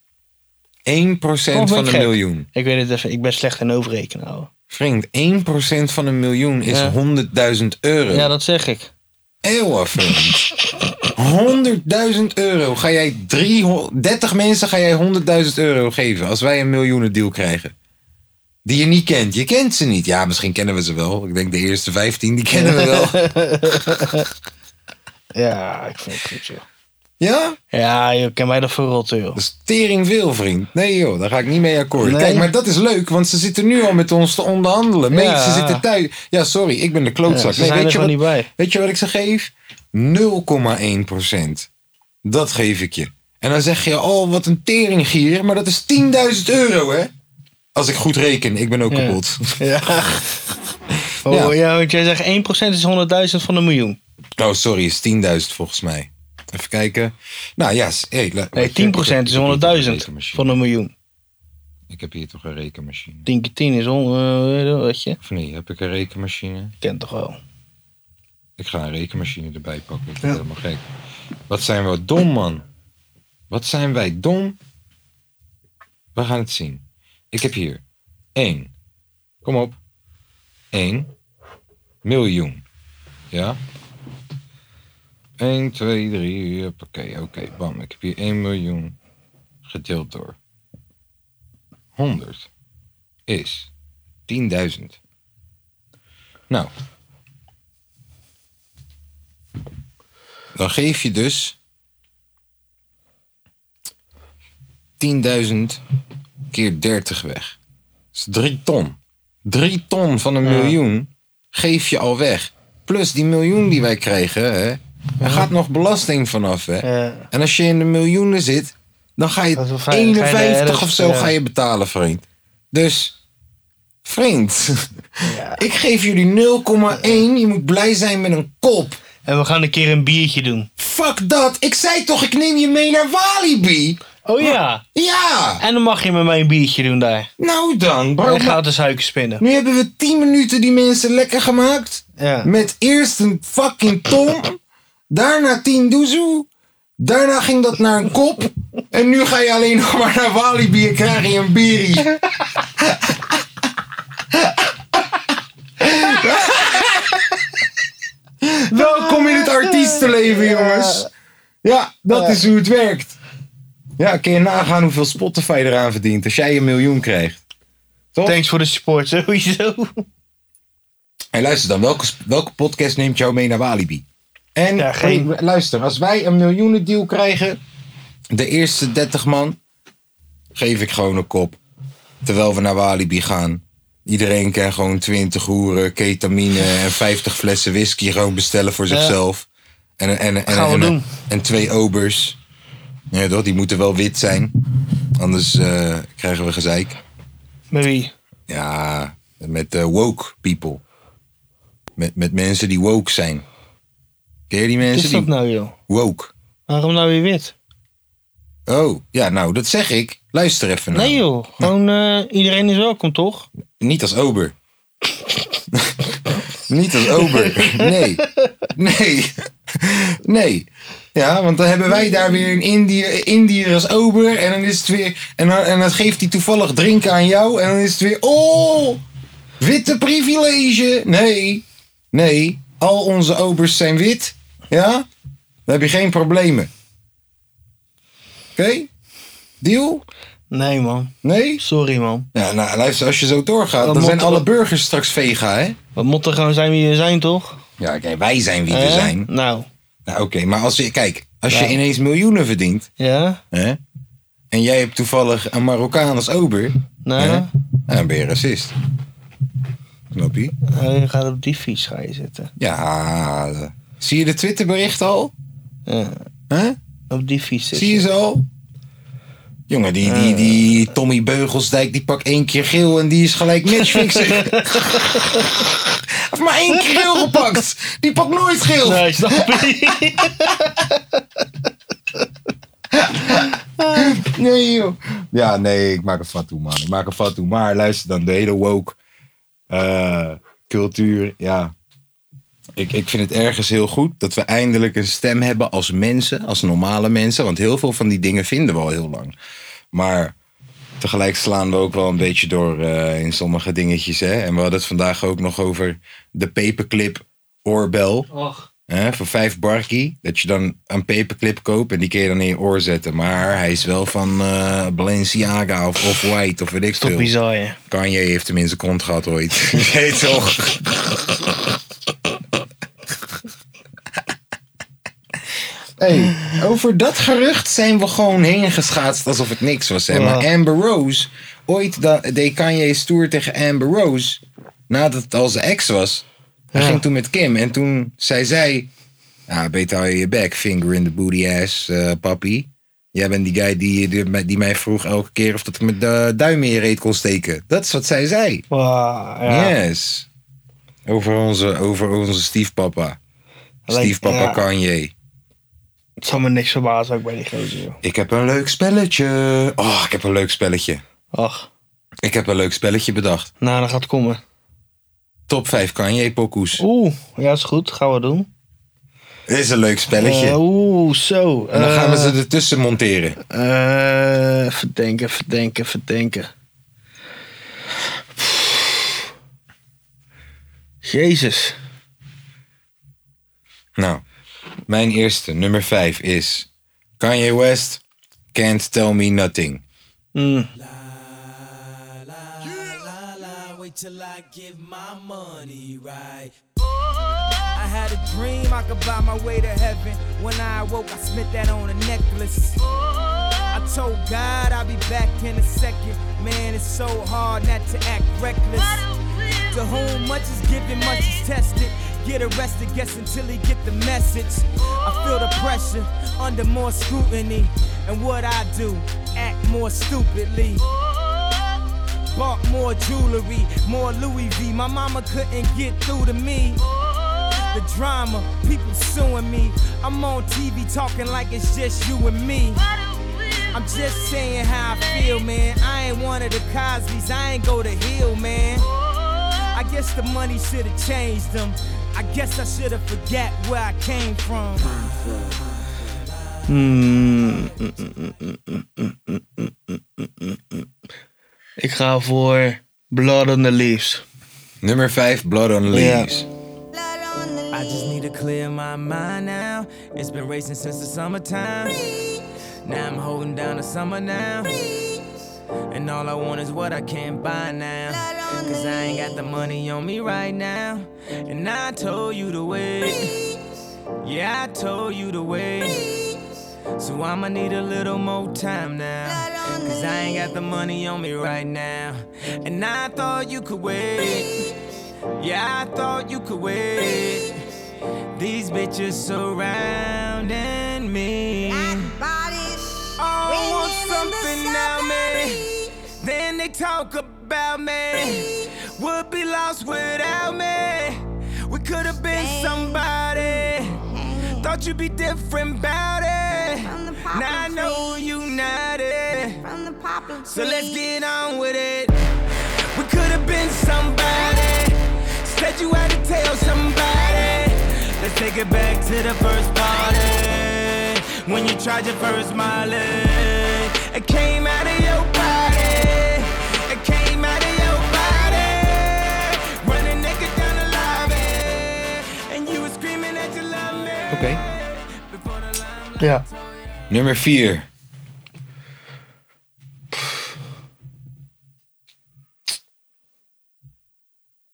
Of ben van ik een gek? miljoen. Ik weet het even. Ik ben slecht in overrekenen, ouwe. Vriend, 1% van een miljoen is Ja. 100.000 euro. Ja, dat zeg ik. Eeuwen, vriend. 100.000 euro. Ga jij 300, 30 mensen ga jij 100.000 euro geven als wij een miljoenen deal krijgen. Die je niet kent. Je kent ze niet. Ja, misschien kennen we ze wel. Ik denk de eerste 15, die kennen we <laughs> wel. Ja, ik vind het goed, joh. Ja? Ja, joh, ken mij dat voor rotten, joh. Dat is tering veel, vriend. Nee joh, daar ga ik niet mee akkoord. Nee. Kijk, maar dat is leuk, want ze zitten nu al met ons te onderhandelen. Meet, Ja. ze zitten thuis. Ja, sorry, ik ben de Ja, klootzak. ze Nee, zijn er weet, je gewoon wat, niet bij. weet je wat ik ze geef? 0,1 Dat geef ik je. En dan zeg je, oh, wat een teringgier. Maar dat is 10.000 euro, hè? Als ik goed reken, ik ben ook Ja. <laughs> kapot. Ja. Oh, <laughs> Ja. ja. want jij zegt 1% is 100.000 van een miljoen. Oh, sorry, is 10.000 volgens mij. Even kijken. Nou ja, s- hey, la- Nee, ik heb- 10% ik is heb hier toch een 100.000 rekenmachine. van een miljoen. Ik heb hier toch een rekenmachine. 10 keer 10 is 100, eh, weet je. Of nee, heb ik een rekenmachine? Kent toch wel. Ik ga een rekenmachine erbij pakken. Ik word helemaal gek. Wat zijn we dom, man. Wat zijn wij dom. We gaan het zien. Ik heb hier 1. Kom op. 1 miljoen. Ja? 1, 2, 3. Oké, oké. Bam. Ik heb hier 1 miljoen gedeeld door 100 is 10.000. Nou, Dan geef je dus 10.000 keer 30 weg. Dat is 3 ton. 3 ton van een miljoen geef je al weg. Plus die miljoen die wij krijgen, hè, er gaat nog belasting vanaf. Hè. Ja. En als je in de miljoenen zit, dan ga Dat is je wel fijn. Dan ga je de eh, 51 helft, of zo ja. ga je betalen, vriend. Dus, vriend, <laughs> ik geef jullie 0,1. Je moet blij zijn met een kop. En we gaan een keer een biertje doen. Fuck dat. Ik zei toch, ik neem je mee naar Walibi? Oh ja. Ja. En dan mag je met mij een biertje doen daar. Nou dan, bro. En gratis suiker spinnen. Nu hebben we 10 minuten die mensen lekker gemaakt. Ja. Met eerst een fucking ton. Daarna 10 doezoe. Daarna ging dat naar <laughs> een kop. En nu ga je alleen nog maar naar Walibi en krijg je een bierie. te leven, jongens. Ja, dat is hoe het werkt. Ja, kun je nagaan hoeveel Spotify eraan verdient als jij een miljoen krijgt. Toch? Thanks voor de support, <laughs> sowieso. Hey, luister dan, welke, welke podcast neemt jou mee naar Walibi? En Ja, geen- hey, luister, als wij een miljoenendeal krijgen, de eerste 30 man, geef ik gewoon een kop. Terwijl we naar Walibi gaan. Iedereen kan gewoon 20 hoeren, ketamine en 50 flessen whisky gewoon bestellen voor zichzelf. En, en, en, en, Gaan we en, doen. en twee obers. Ja, toch? Die moeten wel wit zijn. Anders eh, krijgen we gezeik. Met wie? Ja, met eh, woke people. Met, met mensen die woke zijn. Ken je die Wat mensen is dat die nou, joh? woke? Waarom nou weer wit? Oh, ja, nou, dat zeg ik. Luister even naar. Nee, joh. Gewoon eh, iedereen is welkom, toch? Niet als ober. <laughs> Niet als ober. Nee. Nee. Nee. Ja, want dan hebben wij daar weer een Indiër, Indiër als ober. En dan is het weer. En dan, en dan geeft hij toevallig drinken aan jou. En dan is het weer. Oh! Witte privilege. Nee. Nee. Al onze obers zijn wit. Ja? Dan heb je geen problemen. Oké? Deal? Nee, man. Nee? Sorry, man. Ja, nou, luister, als je zo doorgaat, Dan dan zijn moet- alle burgers straks vega, hè? We moeten gewoon zijn wie we zijn, toch? Ja, kijk, wij zijn wie we Hè? zijn. Nou, Nou, oké, maar als je, kijk, als Ja. je ineens miljoenen verdient, ja. hè? En jij hebt toevallig een Marokkaan als ober, Nou, hè? Dan ben je racist. Snap je? eh, je gaat op die fiets ga je zitten. Ja, zie je de Twitterbericht al? Ja, Hè? op die fiets zitten. Zie je ze al? Jongen, die, die, die Tommy Beugelsdijk, die pakt één keer geel en die is gelijk matchfixer. Heeft maar één keer geel gepakt. Die pakt nooit geel. <laughs> Nee, snap je? <laughs> Nee, joh. Ja, nee, ik maak een fatu, man. Ik maak een fatu. Maar luister dan, de hele woke eh, cultuur, ja. Ik, ik vind het ergens heel goed dat we eindelijk een stem hebben als mensen, als normale mensen. Want heel veel van die dingen vinden we al heel lang. Maar tegelijk slaan we ook wel een beetje door eh, in sommige dingetjes. Hè? En we hadden het vandaag ook nog over de paperclip oorbel. Och. Hè, voor vijf barkie. Dat je dan een paperclip koopt en die kun je dan in je oor zetten. Maar hij is wel van eh, Balenciaga of Off-White of weet ik Toch veel. bizar, hè? Kanye heeft hem in zijn kont gehad ooit. <laughs> Weet toch? <laughs> Hey, over dat gerucht zijn we gewoon heen geschaatst alsof het niks was. Hè? Maar Ja. Amber Rose, ooit da- deed Kanye stoer tegen Amber Rose. Nadat het al zijn ex was. Hij Ja. ging toen met Kim en toen zei zij... Ah, beter hou je je bek, finger in the booty ass, eh, papi. Jij bent die guy die, die, die mij vroeg elke keer of dat ik met de duim in je reet kon steken. Dat is wat zij zei. Wauw, ja. Yes. Over onze, over onze stiefpapa. Alleen- Stiefpapa ja. Kanye. Het zal me niks verbazen ook bij die gozer, joh. Ik heb een leuk spelletje. Oh, ik heb een leuk spelletje. Ach, Ik heb een leuk spelletje bedacht. nou, dat gaat komen. Top 5 Kanye-pokoes. Oeh, ja, is goed. Gaan we doen. Dit is een leuk spelletje. Eh, Oeh, zo. en dan gaan we Eh, ze ertussen monteren. Eh, even denken, even denken, even denken. Jezus. Nou, mijn eerste, nummer 5 is... Kanye West, Can't Tell Me Nothing. Mm. Wait till I give my money right. I had a dream I could buy my way to heaven. When I awoke, I spent that on a necklace. I told God I'll be back in a second. Man, it's so hard not to act reckless. To whom much is given, much is tested. Get arrested, guess until he get the message. I feel the pressure under more scrutiny. And what I do, act more stupidly. Bought more jewelry, more Louis V. My mama couldn't get through to me. The drama, people suing me. I'm on TV talking like it's just you and me. I'm just saying how I feel, man. I ain't one of the Cosby's, I ain't go to Hill, man. I guess the money should have changed them. I guess I should have forget where I came from. Ik ga voor Blood on the Leaves. Nummer 5, Blood on Leaves. I just need a clear my mind now. It's been racing since the summertime. Now I'm holding down the summer now. And all I want is what I can't buy now. Cause I ain't got the money on me right now. And I told you to wait. Yeah, I told you to wait. So I'ma need a little more time now. Cause I ain't got the money on me right now. And I thought you could wait. Yeah, I thought you could wait. These bitches surrounding me. bodies Oh, I want ringing in the something now, man. suburbs. Then they talk about me. Would be lost without me. We could have been Babe. somebody. Hanging Thought you'd be different about it. From the poplar Now I know trees. you not it. From the poplar tree. So let's get on with it. We could have been somebody. Said you had to tell somebody. Let's take it back to the first party. When you tried your first Molly, it came out of your body. It came out of your body. Running naked down the lobby. And you were screaming that you love me. Oké. Before the limelight. Ja. Nummer 4.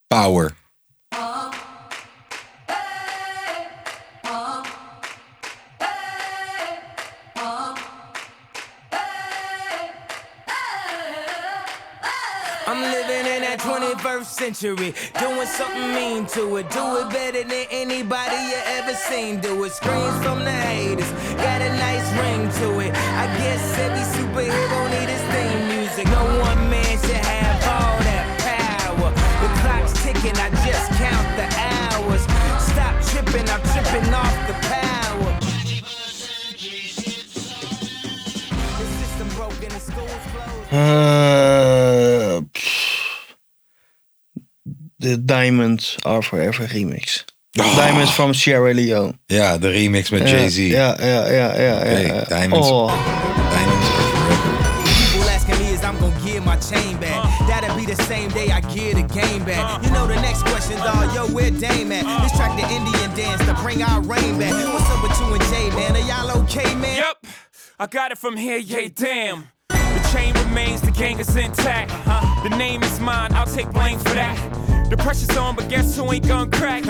Power. I'm living in that 21st century, doing something mean to it. Do it better than anybody you ever seen. Do it. Screams from the haters, got a nice ring to it. I guess every superhero need his theme music. No one man should have all that power. The clock's ticking, I just count the hours. Stop tripping, I'm tripping off the power. The system broken, the school's closed. Eh, pff. De Diamonds Are Forever remix. Diamonds from Sierra Leone. Ja, de remix met Ja, Oh. Jay-Z. Ja, ja, ja, ja. ja, Hey, ja. Diamonds. Oh, Diamonds Forever. People asking me is I'm gonna give my chain back. That'll be the same day I give the game back. You know the next question's all, yo, where Dame at? This track the Indian dance to bring our rain back. What's up with you and Jay, man? Are y'all okay, man? Yep, I got it from here, yay, damn. The chain remains, the gang is intact. Uh-huh. The name is mine, I'll take blame for that. The pressure's on, but guess who ain't gonna crack? <laughs>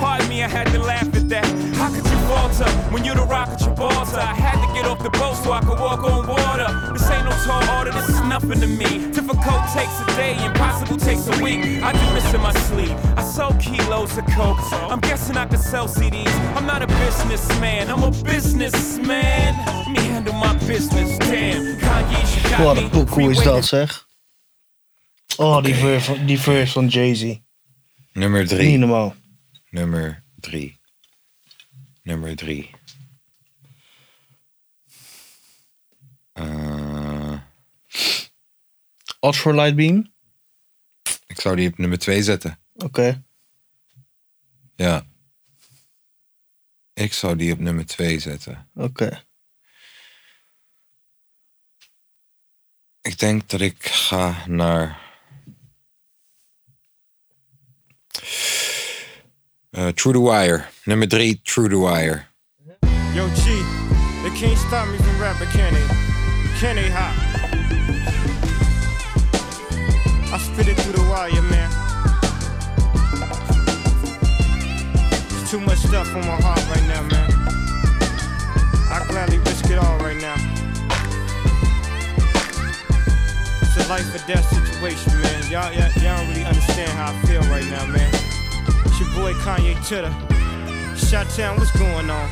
Pardon me, I had to laugh at that. How could you falter when you the rock at your balls? I had to get off the boat so I could walk on water. This ain't no tall order, this is nothing to me. Difficult takes a day, impossible takes a week. I do this in my sleep. I sold kilos of coke. I'm guessing I could sell CDs. I'm not a businessman, I'm a businessman. Let me handle my business, damn. Kanye, you got wat me. een poekoe is Freeway dat, zeg. Oh, die verse van, die verse van Jay-Z. Nummer Niet 3. normaal. Nummer 3. Nummer 3. Eh, Oxford Lightbeam. ik zou die op nummer 2 zetten. Oké. Ja. Ik zou die op nummer 2 zetten. Oké. Ik denk dat ik ga naar. eh, True the Wire. Nummer 3, True the Wire. Yo, G, they can't stop me from rapping, can they? Can they, ha? I spit it through the wire, man. There's too much stuff on my heart right now, man. I gladly risk it all right now. It's a life or death situation, man. Y'all, y'all, y'all don't really understand how I feel right now, man. It's your boy Kanye Titter. Shot Town, what's going on?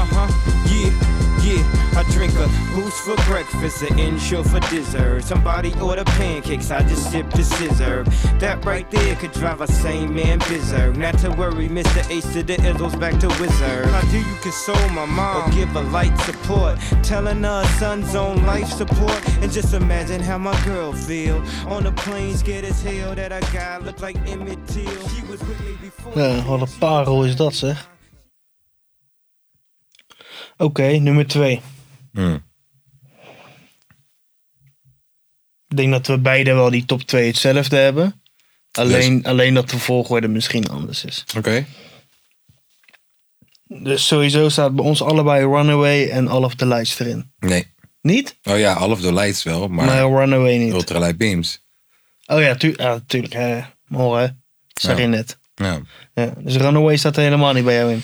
Uh-huh, yeah, yeah. I drink a boost for breakfast, an insure for dessert. Somebody order pancakes, I just sip the scissor. That right there could drive a sane man berserk. Not to worry, Mr. Ace to the Izzles back to Wizard. How do you console my Or mom? give her light support, telling her son's on life support. And just imagine how my girl feel. On the plane, scared as hell that a guy looked like Emmett Till. She was with me before. Ja, Eh, wat een parel is dat, zeg. Oké, nummer 2. Hmm. Ik denk dat we beide wel die top 2 hetzelfde hebben. Alleen, alleen dat de volgorde misschien anders is. Oké. Dus sowieso staat bij ons allebei Runaway en All of the Lights erin. Nee. Niet? Oh ja, half de lights wel, maar Maar Runaway niet. ultralight beams. Oh ja, tu ja tuurlijk. Hè. Hoor hè. Zeg je Ja. net. Ja. Ja. Dus Runaway staat er helemaal niet bij jou in.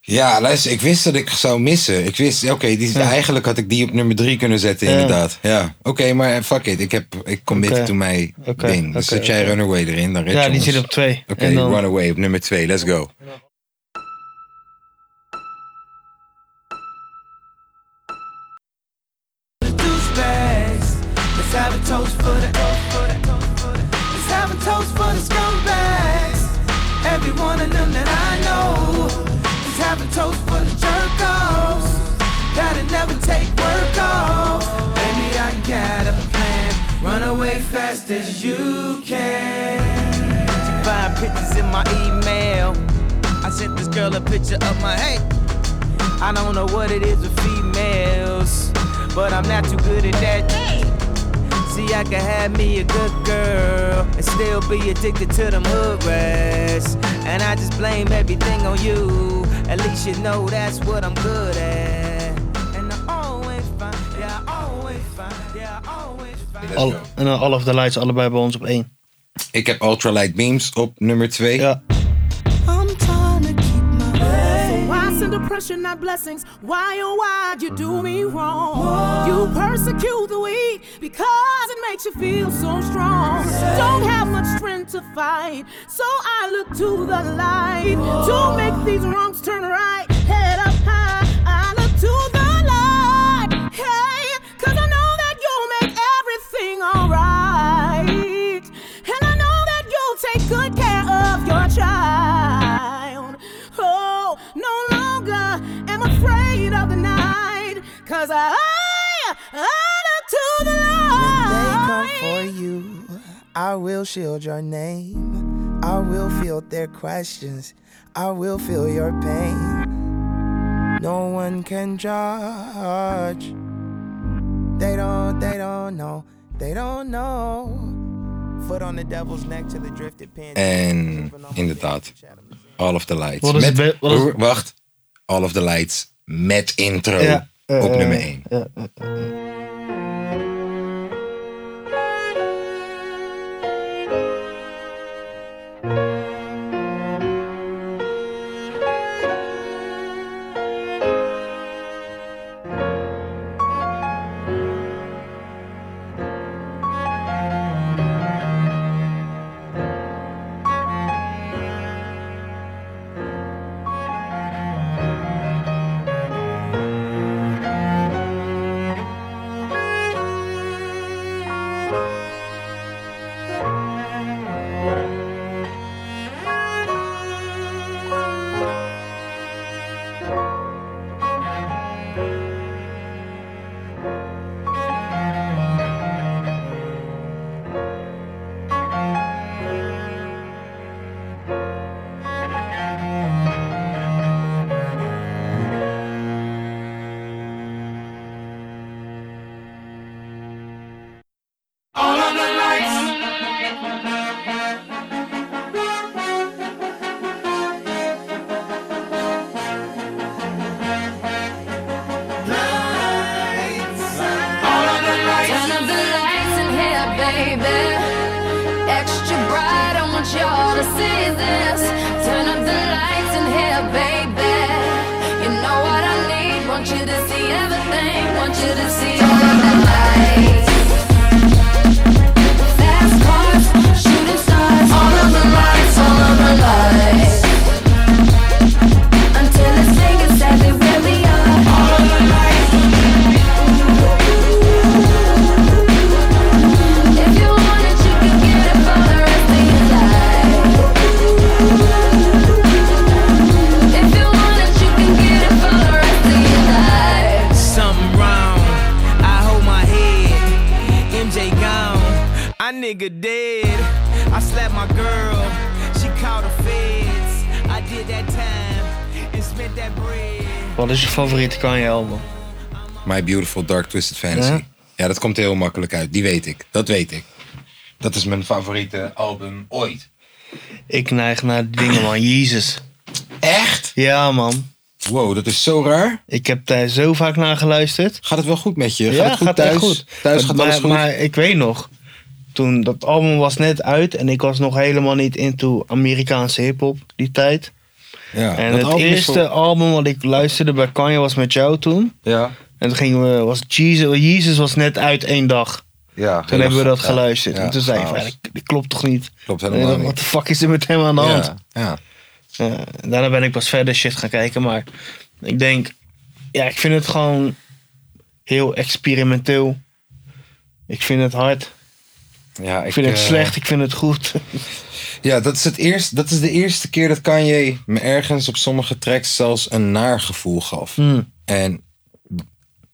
Ja, luister, ik wist dat ik zou missen. Ik wist, oké, die eigenlijk had ik die op nummer drie kunnen zetten, Ja. inderdaad. Ja, oké, maar fuck it. Ik, heb, ik commit Oké. to my Oké, ding. Dus oké, zet jij oké. Runaway erin, dan red Ja, je die ons. zit op twee. Oké, en dan, Runaway op nummer twee, let's go. douchebags. Let's have a toast for the Let's have a toast for the scumbags. Every one of them that I know. Let's have a toast for the jerk offs. Gotta never take work off. Baby, I got a plan. Run away fast as you can. Find pictures in my email. I sent this girl a picture of my hey. I don't know what it is with females, but I'm not too good at that. See, I can have me a good girl and still be addicted to them hood rats. And I just blame everything on you. At least you know that's what I'm good at. And I always find, yeah, I always find, yeah, I always find. Let's al, go. en dan All of the Lights allebei bij ons op één. Ik heb Ultralight Beams op nummer twee. Ja. I'm trying to keep my So why send oppression, not blessings? Why, oh, why you do me wrong? You persecute the weak because it makes you feel so strong. Don't have much strength to fight, so I look to the light to make these wrongs turn right. Head up high, I look to the light. Hey, cause I know that you'll make everything alright. And I know that you'll take good care of your child. Oh, no longer am afraid of the night. Cause I, I look to the light. you, I will shield your name. I will field their questions. I will feel your pain. No one can judge. They don't, they don't know. They don't know. Foot on the devil's neck to the drifted pin. En inderdaad, All of the Lights. Wat is met, be- wat is- Hoor, Wacht, All of the Lights met intro Ja, eh, op nummer één. ja, eh, Turn up the lights in here, baby. Extra bright, I want y'all to see this. Turn up the lights in here, baby. You know what I need. Want you to see everything. Want you to see all of the lights. Fast cars, shooting stars. All of the lights, all of the lights. Until it's thing exactly where we are. All of the lights. If you want it, you can get it for the rest of your life. If you want it, you can get it for the rest of your life. Something wrong. I hold my head. MJ gone. I nigga dead. I slapped my girl. She called the feds. I did that time and spent that bread. Wat is je favoriete Kanye album? My Beautiful Dark Twisted Fantasy. Ja? Ja? dat komt heel makkelijk uit. Die weet ik. Dat weet ik. Dat is mijn favoriete album ooit. Ik neig naar die dingen, man. Jezus. Echt? Ja, man. Wow, dat is zo raar. Ik heb daar zo vaak naar geluisterd. Gaat het wel goed met je? Gaat ja, het goed gaat thuis? echt goed. Thuis gaat maar, alles goed? Maar ik weet nog, toen dat album was net uit en ik was nog helemaal niet into Amerikaanse hip-hop die tijd. ja, en dat het album is eerste voor- album wat ik luisterde bij Kanye was met jou toen. Ja, En toen gingen we, was Jesus, Jesus was net uit één dag. ja. Toen hebben we dat geluisterd. en toen zei ik, van, ja, eigenlijk. dat, dat klopt toch niet? Klopt helemaal Wat niet. de fuck is er met hem aan de hand? Ja, ja. Ja, daarna ben ik pas verder shit gaan kijken. Maar ik denk, ja, ik vind het gewoon heel experimenteel. Ik vind het hard. Ik, Ja, ik, vind het eh, slecht. Ik vind het goed. Ja, dat is, het eerst, dat is de eerste keer dat Kanye me ergens op sommige tracks zelfs een naar gevoel gaf. Hmm. En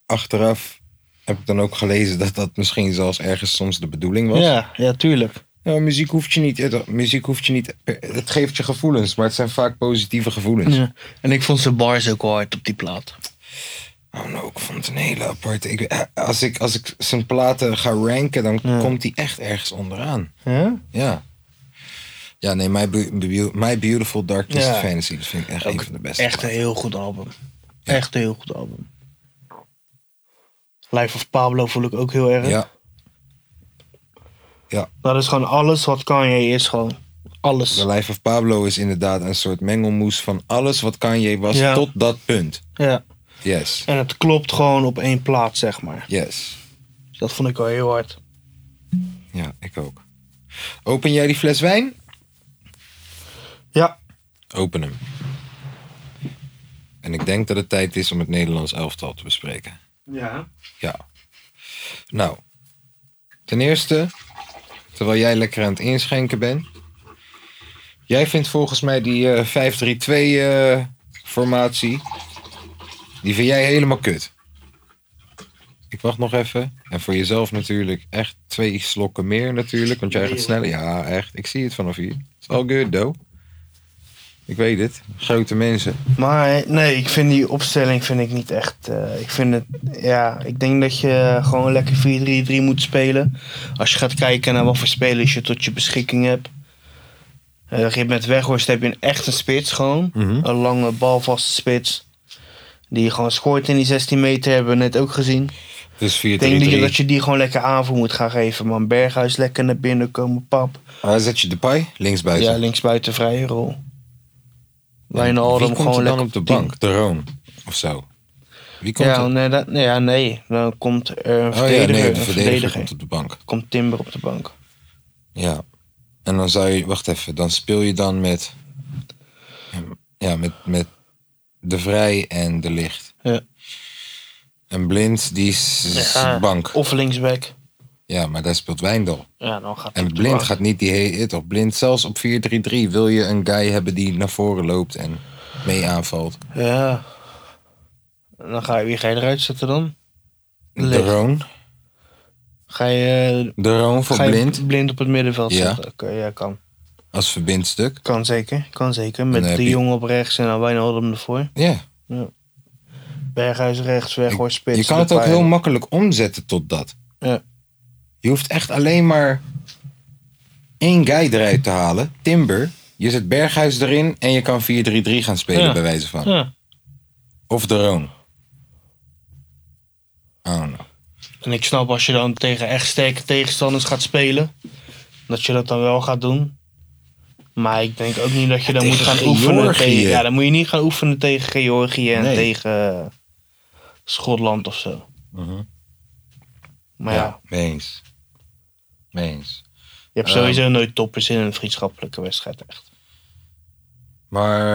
achteraf heb ik dan ook gelezen dat dat misschien zelfs ergens soms de bedoeling was. Ja, ja, tuurlijk. Ja, muziek hoeft je niet. Het, muziek hoeft je niet. Het geeft je gevoelens, maar het zijn vaak positieve gevoelens. Ja. En ik vond zijn bars ook wel hard op die plaat. Oh, nou, ik vond het een hele aparte. Ik, eh, als, ik, als ik zijn platen ga ranken, dan komt die echt ergens onderaan. Ja? Ja. Ja, nee, My, Be- Be- My Beautiful Dark Twisted Ja. Fantasy. Dat vind ik echt een van de beste. Echt een heel goed album. Echt een heel goed album. Life of Pablo voel ik ook heel erg. Ja, Dat is gewoon alles wat Kanye is. Gewoon alles. The Life of Pablo is inderdaad een soort mengelmoes van alles wat Kanye was Ja. tot dat punt. Ja. Yes, En het klopt gewoon op één plaat, zeg maar. yes. Dus dat vond ik wel heel hard. Ja, ik ook. Open jij die fles wijn? Ja, Open hem. En ik denk dat het tijd is om het Nederlands elftal te bespreken. Ja. Ja. Nou, ten eerste, terwijl jij lekker aan het inschenken bent. Jij vindt volgens mij die eh 5-3-2-formatie, eh, die vind jij helemaal kut. Ik wacht nog even. En voor jezelf natuurlijk echt twee slokken meer natuurlijk. Want jij gaat sneller. Ja, echt. Ik zie het vanaf hier. It's all good, though. Ik weet het. Grote mensen. Maar eh, nee, ik vind die opstelling vind ik niet echt. eh, ik vind het, ja, ik denk dat je gewoon lekker 4-3-3 moet spelen. Als je gaat kijken naar wat voor spelers je tot je beschikking hebt. Eh met Weghorst heb je een echte spits gewoon. Een lange balvaste spits. Die gewoon scoort in die 16 meter, hebben we net ook gezien. Dus 4-3-3. Ik denk dat je, dat je die gewoon lekker aanvoer moet gaan geven, man. Berghuis lekker naar binnen komen, pap. Waar zet je de pie? Linksbuiten. Ja, linksbuiten vrije rol. Wie Wijnaldum komt gewoon er dan lekker op de tien. bank? De Roon of zo. Wie komt ja, er? nee, dat, nee, ja, nee, dan komt er een Oh ja, verdediger. nee, een de verdediger komt op de bank. Komt Timber op de bank. Ja. En dan zou je, wacht even, dan speel je dan met, ja, met, met de Vrij en de Licht. Ja. En Blind, die is is Ja, bank. Of linksback. Ja, maar daar speelt Wijndal. Ja, dan gaat En hij op de Blind bank. gaat niet die hele hit op. Blind, zelfs op 4-3-3 wil je een guy hebben die naar voren loopt en mee aanvalt. Ja. En Dan ga je, wie ga je eruit zetten dan? De Ligt. Roon. Ga je, eh, De Roon voor ga je Blind blind op het middenveld Ja. zetten? Oké, ja, kan. als verbindstuk. Kan zeker, kan zeker. Met dan heb de je- jongen op rechts en dan Wijnaldum ervoor. Ja. Berghuis rechts, Weghorst spits. Je kan het ook Depay. heel makkelijk omzetten tot dat. Ja. Je hoeft echt alleen maar één guy eruit te halen. Timber. Je zet Berghuis erin en je kan 4-3-3 gaan spelen, Ja. bij wijze van. Ja. Of de Roon. Oh, no. En ik snap als je dan tegen echt sterke tegenstanders gaat spelen, dat je dat dan wel gaat doen. Maar ik denk ook niet dat je dan Tegen moet gaan Georgië. oefenen tegen. Ja, dan moet je niet gaan oefenen tegen Georgië en Nee. tegen eh, Schotland of zo. Maar ja. Mhm. Ja, mee eens. Mee eens. je hebt sowieso ehm, nooit toppers in een vriendschappelijke wedstrijd echt. Maar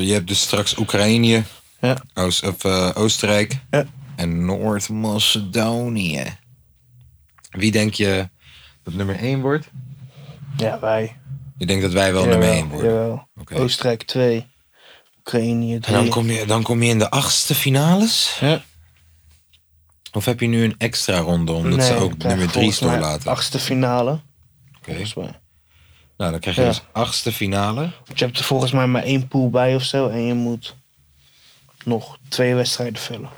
je hebt dus straks Oekraïne, Ja. Oost- of, eh, Oostenrijk Ja. en Noord-Macedonië. Wie denk je dat nummer 1 wordt? Ja, wij. Je denkt dat wij wel nummer 1 worden. Jawel. Oké. Oostenrijk 2, Oekraïne En 3. dan kom, je, dan kom je in de achtste finales? Ja. Of heb je nu een extra ronde omdat ze ook nummer 3 doorlaten? Achtste finale, Oké. volgens mij. Nou, dan krijg je Ja. dus achtste finale. Want je hebt er volgens mij maar één pool bij of zo. En je moet nog twee wedstrijden vullen.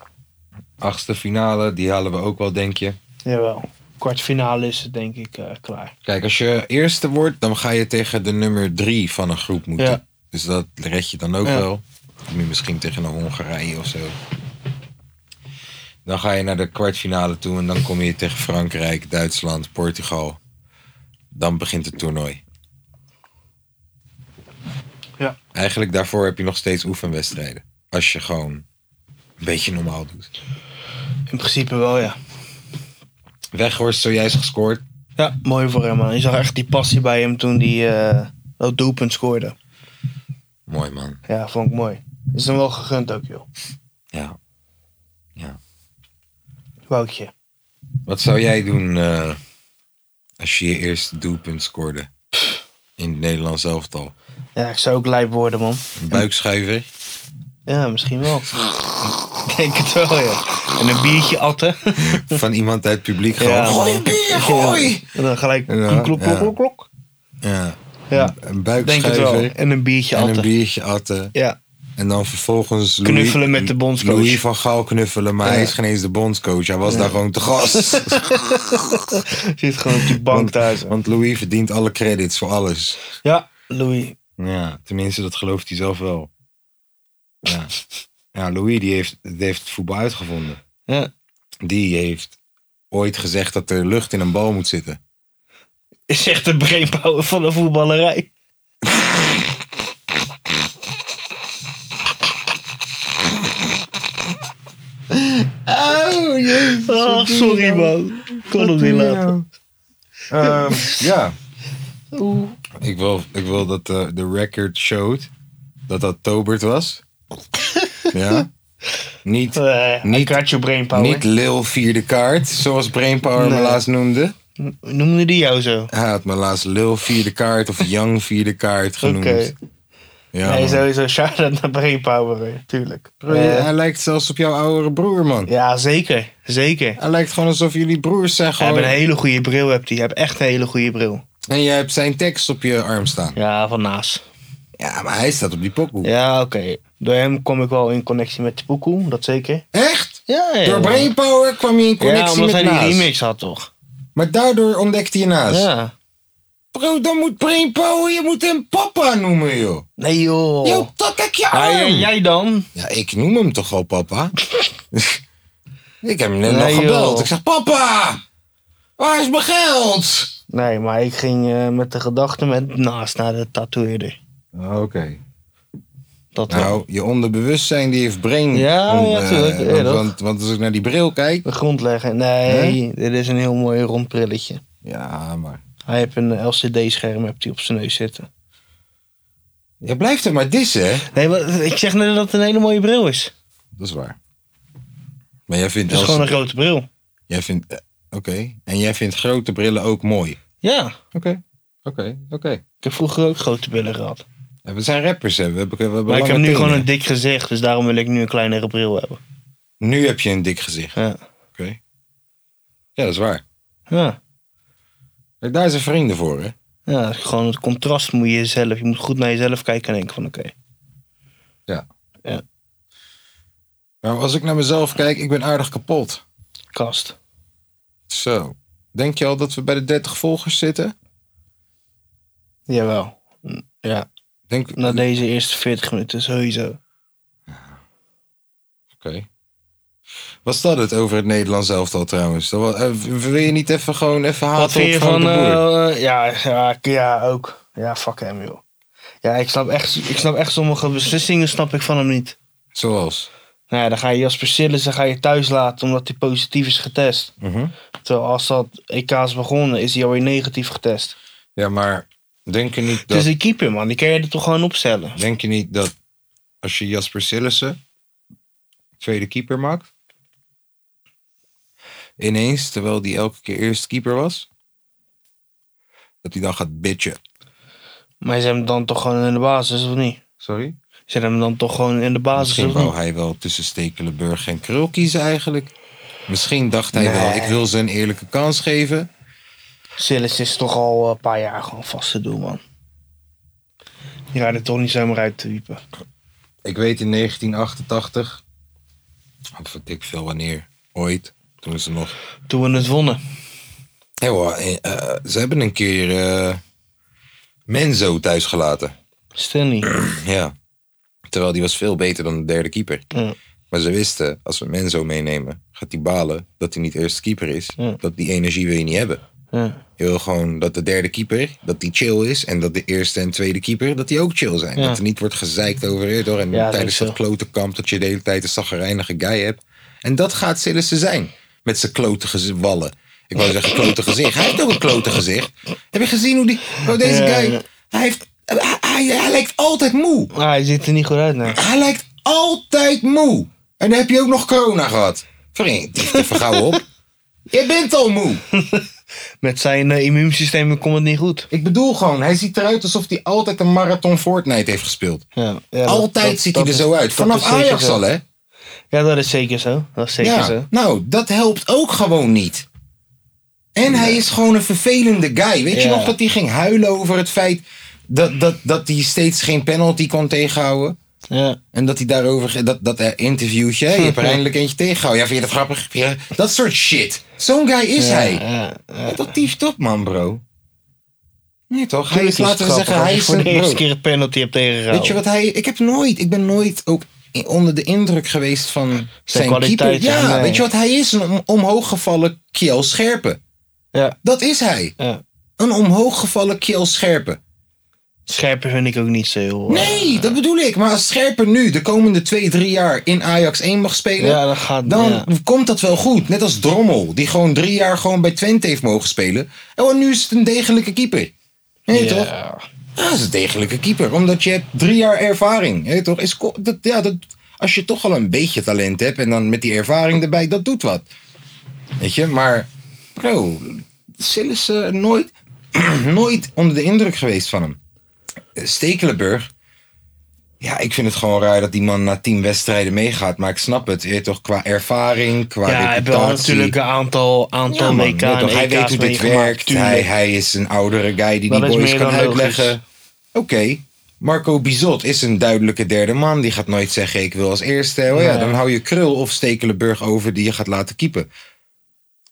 Achtste finale, die halen we ook wel, denk je. Jawel. kwartfinale is het denk ik eh, klaar. Kijk, als je eerste wordt, dan ga je tegen de nummer drie van een groep moeten. Ja. Dus dat red je dan ook Ja. wel. Nu misschien tegen een Hongarije of zo. Dan ga je naar de kwartfinale toe en dan kom je tegen Frankrijk, Duitsland, Portugal. Dan begint het toernooi. Ja. Eigenlijk daarvoor heb je nog steeds oefenwedstrijden. Als je gewoon een beetje normaal doet. In principe wel, ja. Weghorst zojuist gescoord. Ja, mooi voor hem, man. Je zag echt die passie bij hem toen hij eh dat doelpunt scoorde. Mooi man. Ja, vond ik mooi. Is hem wel gegund ook, joh. Ja. Ja. Woutje. Wat zou jij doen eh, als je je eerste doelpunt scoorde in het Nederlands elftal? Ja, ik zou ook lijp worden, man. Een buikschuiver? Ja, misschien wel. Ik Denk het wel, ja. En een biertje <laughs> atten. Van iemand uit het publiek gewoon. Ja, gooi een man. bier, gooi! En dan gelijk Ja, klok, klok, ja. klok, klok. Ja, Ja, een denk het wel. buikschuiver En een biertje en een atten. biertje atten. Ja, En dan vervolgens Louis- Knuffelen met de bondscoach. Louis van Gaal knuffelen, maar hij is geen eens de bondscoach. Hij was daar gewoon te gast. zit gewoon op die <laughs> bank <laughs> Want- thuis. Want Louis verdient alle credits voor alles. Ja, Louis. Ja, tenminste, dat gelooft hij zelf wel. Ja, ja Louis die heeft, die heeft het voetbal uitgevonden. Ja. Die heeft ooit gezegd dat er lucht in een bal moet zitten. Is echt de brainpower van de voetballerij. Oh, jee. Ah, nou? sorry, man. Ik kon hem niet laten. Ehm, <laughs> ja. Ik wil, ik wil dat eh, de record showt dat dat Tobert <laughs> was. Ja. Niet, Eh, Niet- ik had je brainpower. niet Lil vierde kaart, zoals Brainpower me Nee. laatst noemde. Noemde die jou zo? Hij had me laatst Lil vierde kaart of Young vierde kaart genoemd. Oké. Ja, nee, man. sowieso shout-out naar brainpower, hè. tuurlijk. Bro, je- Eh, hij lijkt zelfs op jouw oudere broer, man. ja, zeker. Zeker. Hij lijkt gewoon alsof jullie broers zijn Hij gewoon. heeft een hele goede bril, hebt hij. Hij heeft echt een hele goede bril. En jij hebt zijn tekst op je arm staan. Ja, van naast. Ja, maar hij staat op die pokoe. Ja, oké. Door hem kom ik wel in connectie met Poekoe, dat zeker. Echt? Ja, ja. Door Brainpower kwam je in Ja, connectie omdat hij met die Naas. remix had, toch? Maar daardoor ontdekte je Naas. Ja. Bro, dan moet Brainpower, je moet hem papa noemen, joh. Nee, joh. Yo, tak ik je Ja, arm. Oh. ja, Nou, jij dan? Ja, ik noem hem toch al <laughs> papa? ik heb hem net Nee, nog gebeld. joh. Ik zeg, papa, waar is mijn geld? Nee, maar ik ging eh, met de gedachte met naast naar de tatoeëerder. Oké. Ah, Dat wel. Nou, je onderbewustzijn die heeft brain. Ja, ja, eh, tuurlijk. Ja, want, toch? want, want als ik naar die bril kijk. De grond leggen. Nee, dit is een heel mooi rond brilletje. Ja, maar. Hij heeft een eh, LCD-scherm hebt hij op zijn neus zitten. Je blijft er maar dissen, hè? Nee, maar eh, ik zeg net dat het een hele mooie bril is. Dat is waar. Maar jij vindt. Het is als- gewoon een grote bril. Jij vindt. eh, Oké. En jij vindt grote brillen ook mooi. Ja, Oké. Oké, oké. ik heb vroeger ook grote billen gehad. En we zijn rappers, hè? We hebben, we hebben Maar ik lange heb nu tenen. gewoon een dik gezicht, dus daarom wil ik nu een kleinere bril hebben. Nu heb je een dik gezicht. Ja. Oké. Ja, dat is waar. Ja, Kijk, Daar zijn vrienden voor, hè? ja gewoon het contrast moet je jezelf. Je moet goed naar jezelf kijken en denken van oké. Nou, als ik naar mezelf kijk, ik ben aardig kapot. Kast. Zo. Denk je al dat we bij de 30 volgers zitten? Jawel. Ja, Denk, na deze eerste 40 minuten sowieso. Oké. Was dat het over het Nederlands elftal trouwens? Dat was- eh, w- wil je niet even gewoon even haten Wat vind je op Frank van... Ah, de Boer? eh, ja, ja, ik- ja, ook. Ja, fuck hem joh. Ja, ik snap echt, ik snap echt sommige beslissingen snap ik van hem niet. Zoals? Nou ja, dan ga je Jasper Sillissen ga je thuis laten omdat hij positief is getest. Mhm. Terwijl als dat EK is begonnen, is hij alweer negatief getest. Ja, maar denk je, niet Het dat, is een keeper man, die kan je er toch gewoon opstellen. denk je niet dat als je Jasper Sillissen tweede keeper maakt, ineens, terwijl die elke keer eerste keeper was, dat hij dan gaat bitchen? Maar ze hebben hem dan toch gewoon in de basis, of niet? Sorry? Ze hebben hem dan toch gewoon in de basis, Misschien of wou niet? hij wel tussen Stekelenburg en Krul kiezen eigenlijk. Misschien dacht hij wel, Nee. ik wil ze een eerlijke kans geven. Sillis is toch al eh, een paar jaar gewoon vast te doen, man. Die rijden toch niet zomaar uit te wiepen. Ik weet in 1988, of weet ik veel wanneer, ooit, toen ze nog Toen we het wonnen. Ja hoor, eh, eh, ze hebben een keer eh, Menzo thuis gelaten. Stanley. Ja. Terwijl die was veel beter dan de derde keeper. Ja. Maar ze wisten, als we Menzo meenemen, gaat hij balen dat hij niet eerste keeper is. Ja. Dat die energie wil je niet hebben. Ja. Je wil gewoon dat de derde keeper, dat die chill is. En dat de eerste en tweede keeper, dat die ook chill zijn. Ja. Dat er niet wordt gezeikt over je door. En Ja, dat tijdens is dat zo. klote kamp dat je de hele tijd een zagrijnige guy hebt. En dat gaat Sillissen zijn. Met zijn klote gez- wallen. Ik wou zeggen klote gezicht. Hij heeft ook een klote gezicht. Heb je gezien hoe die... hoe deze Ja, guy... ja. Hij, heeft, hij, hij, hij lijkt altijd moe. Ah, hij ziet er niet goed uit, nou. Hij lijkt altijd moe. En dan heb je ook nog corona gehad. Vriend, even gauw <laughs> op. Je bent al moe. Met zijn eh, immuunsysteem komt het niet goed. Ik bedoel gewoon, hij ziet eruit alsof hij altijd een marathon Fortnite heeft gespeeld. Ja, ja, dat- altijd dat- ziet hij dat er is- zo uit. dat Vanaf is zeker Ajax zo. al, hè? Ja, dat is zeker zo. Dat is zeker Ja. zo. Nou, dat helpt ook gewoon niet. En hij is gewoon een vervelende guy. Weet je Ja. nog dat hij ging huilen over het feit dat, dat, dat hij steeds geen penalty kon tegenhouden? Ja. En dat hij daarover, dat, dat eh, interviewtje, hè, je <laughs> hebt er eindelijk eentje tegengehouden. Ja, vind je dat grappig? Vind je- Dat soort shit. Zo'n guy is Ja, hij. ja, ja. Dat tieft op, man, bro. Nee, toch? Hij Tuurlijk is, is het laten we grappig zeggen, als hij je is voor de een eerste bro. keer een penalty hebt tegengehouden. Weet je wat hij... Ik heb nooit... Ik ben nooit ook i- onder de indruk geweest van zijn, keeper. kwaliteit, eh, ja, Ja, nee. weet je wat hij is? Een om- omhooggevallen Kiel Scherpen. Ja, Dat is hij. ja. Een omhooggevallen Kiel Scherpen. Scherpen vind ik ook niet zo heel... eh, Nee, dat bedoel ik. Maar als Scherpen nu de komende twee, drie jaar in Ajax 1 mag spelen... Ja, dat gaat... dan ja. komt dat wel goed. Net als Drommel, die gewoon drie jaar gewoon bij Twente heeft mogen spelen. En want nu is het een degelijke keeper. Nee, Ja. toch? Ja, dat is een degelijke keeper. Omdat je hebt drie jaar ervaring. Hè, toch? Is, ko- dat, ja, dat, als je toch al een beetje talent hebt en dan met die ervaring erbij, dat doet wat. Weet je, maar bro, Sillissen eh, nooit, <clears throat> nooit onder de indruk geweest van hem. Eh, Stekelenburg, ja, ik vind het gewoon raar dat die man na tien wedstrijden meegaat. Maar ik snap het, je weet toch, qua ervaring, qua Ja, hij heeft wel reputatie. natuurlijk een aantal, aantal Ja, man, WK weet en toch, hij EK's weet hoe dit meegemaakt, werkt. tuurlijk. Hij, hij is een oudere guy die Dat die is boys meer kan dan logisch. uitleggen. Oké, Marco Bizot is een duidelijke derde man. Die gaat nooit zeggen ik wil als eerste. Oh ja, Nee. dan hou je Krul of Stekelenburg over die je gaat laten keepen.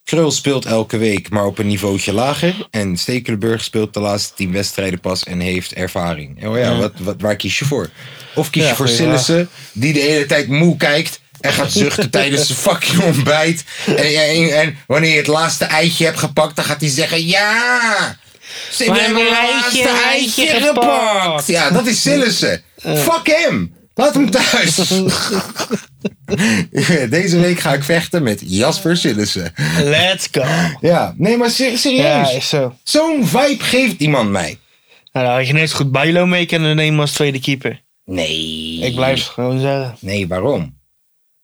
Krul speelt elke week, maar op een niveautje lager. En Stekelenburg speelt de laatste tien wedstrijden pas en heeft ervaring. Oh ja, Wat, wat, waar kies je voor? Of kies Ja, je voor goeie Sillissen, die de hele tijd moe kijkt en gaat zuchten tijdens zijn fucking ontbijt. En, en, en wanneer je het laatste eitje hebt gepakt, dan gaat hij zeggen: Ja! Ze We hebben hebben het een laatste eitje, een eitje eitje gepakt! gepakt. Eh. Ja, dat is <laughs> Sillissen. Fuck hem! Laat hem thuis! Deze week ga ik vechten met Jasper Sillissen. Let's go. Ja, nee, maar ser- Ja, serieus. is zo. Zo'n vibe geeft die man mij. Nou, dan had je net zo goed Bijlo mee kunnen nemen als tweede keeper. Nee. Ik blijf het gewoon zeggen. Nee, waarom?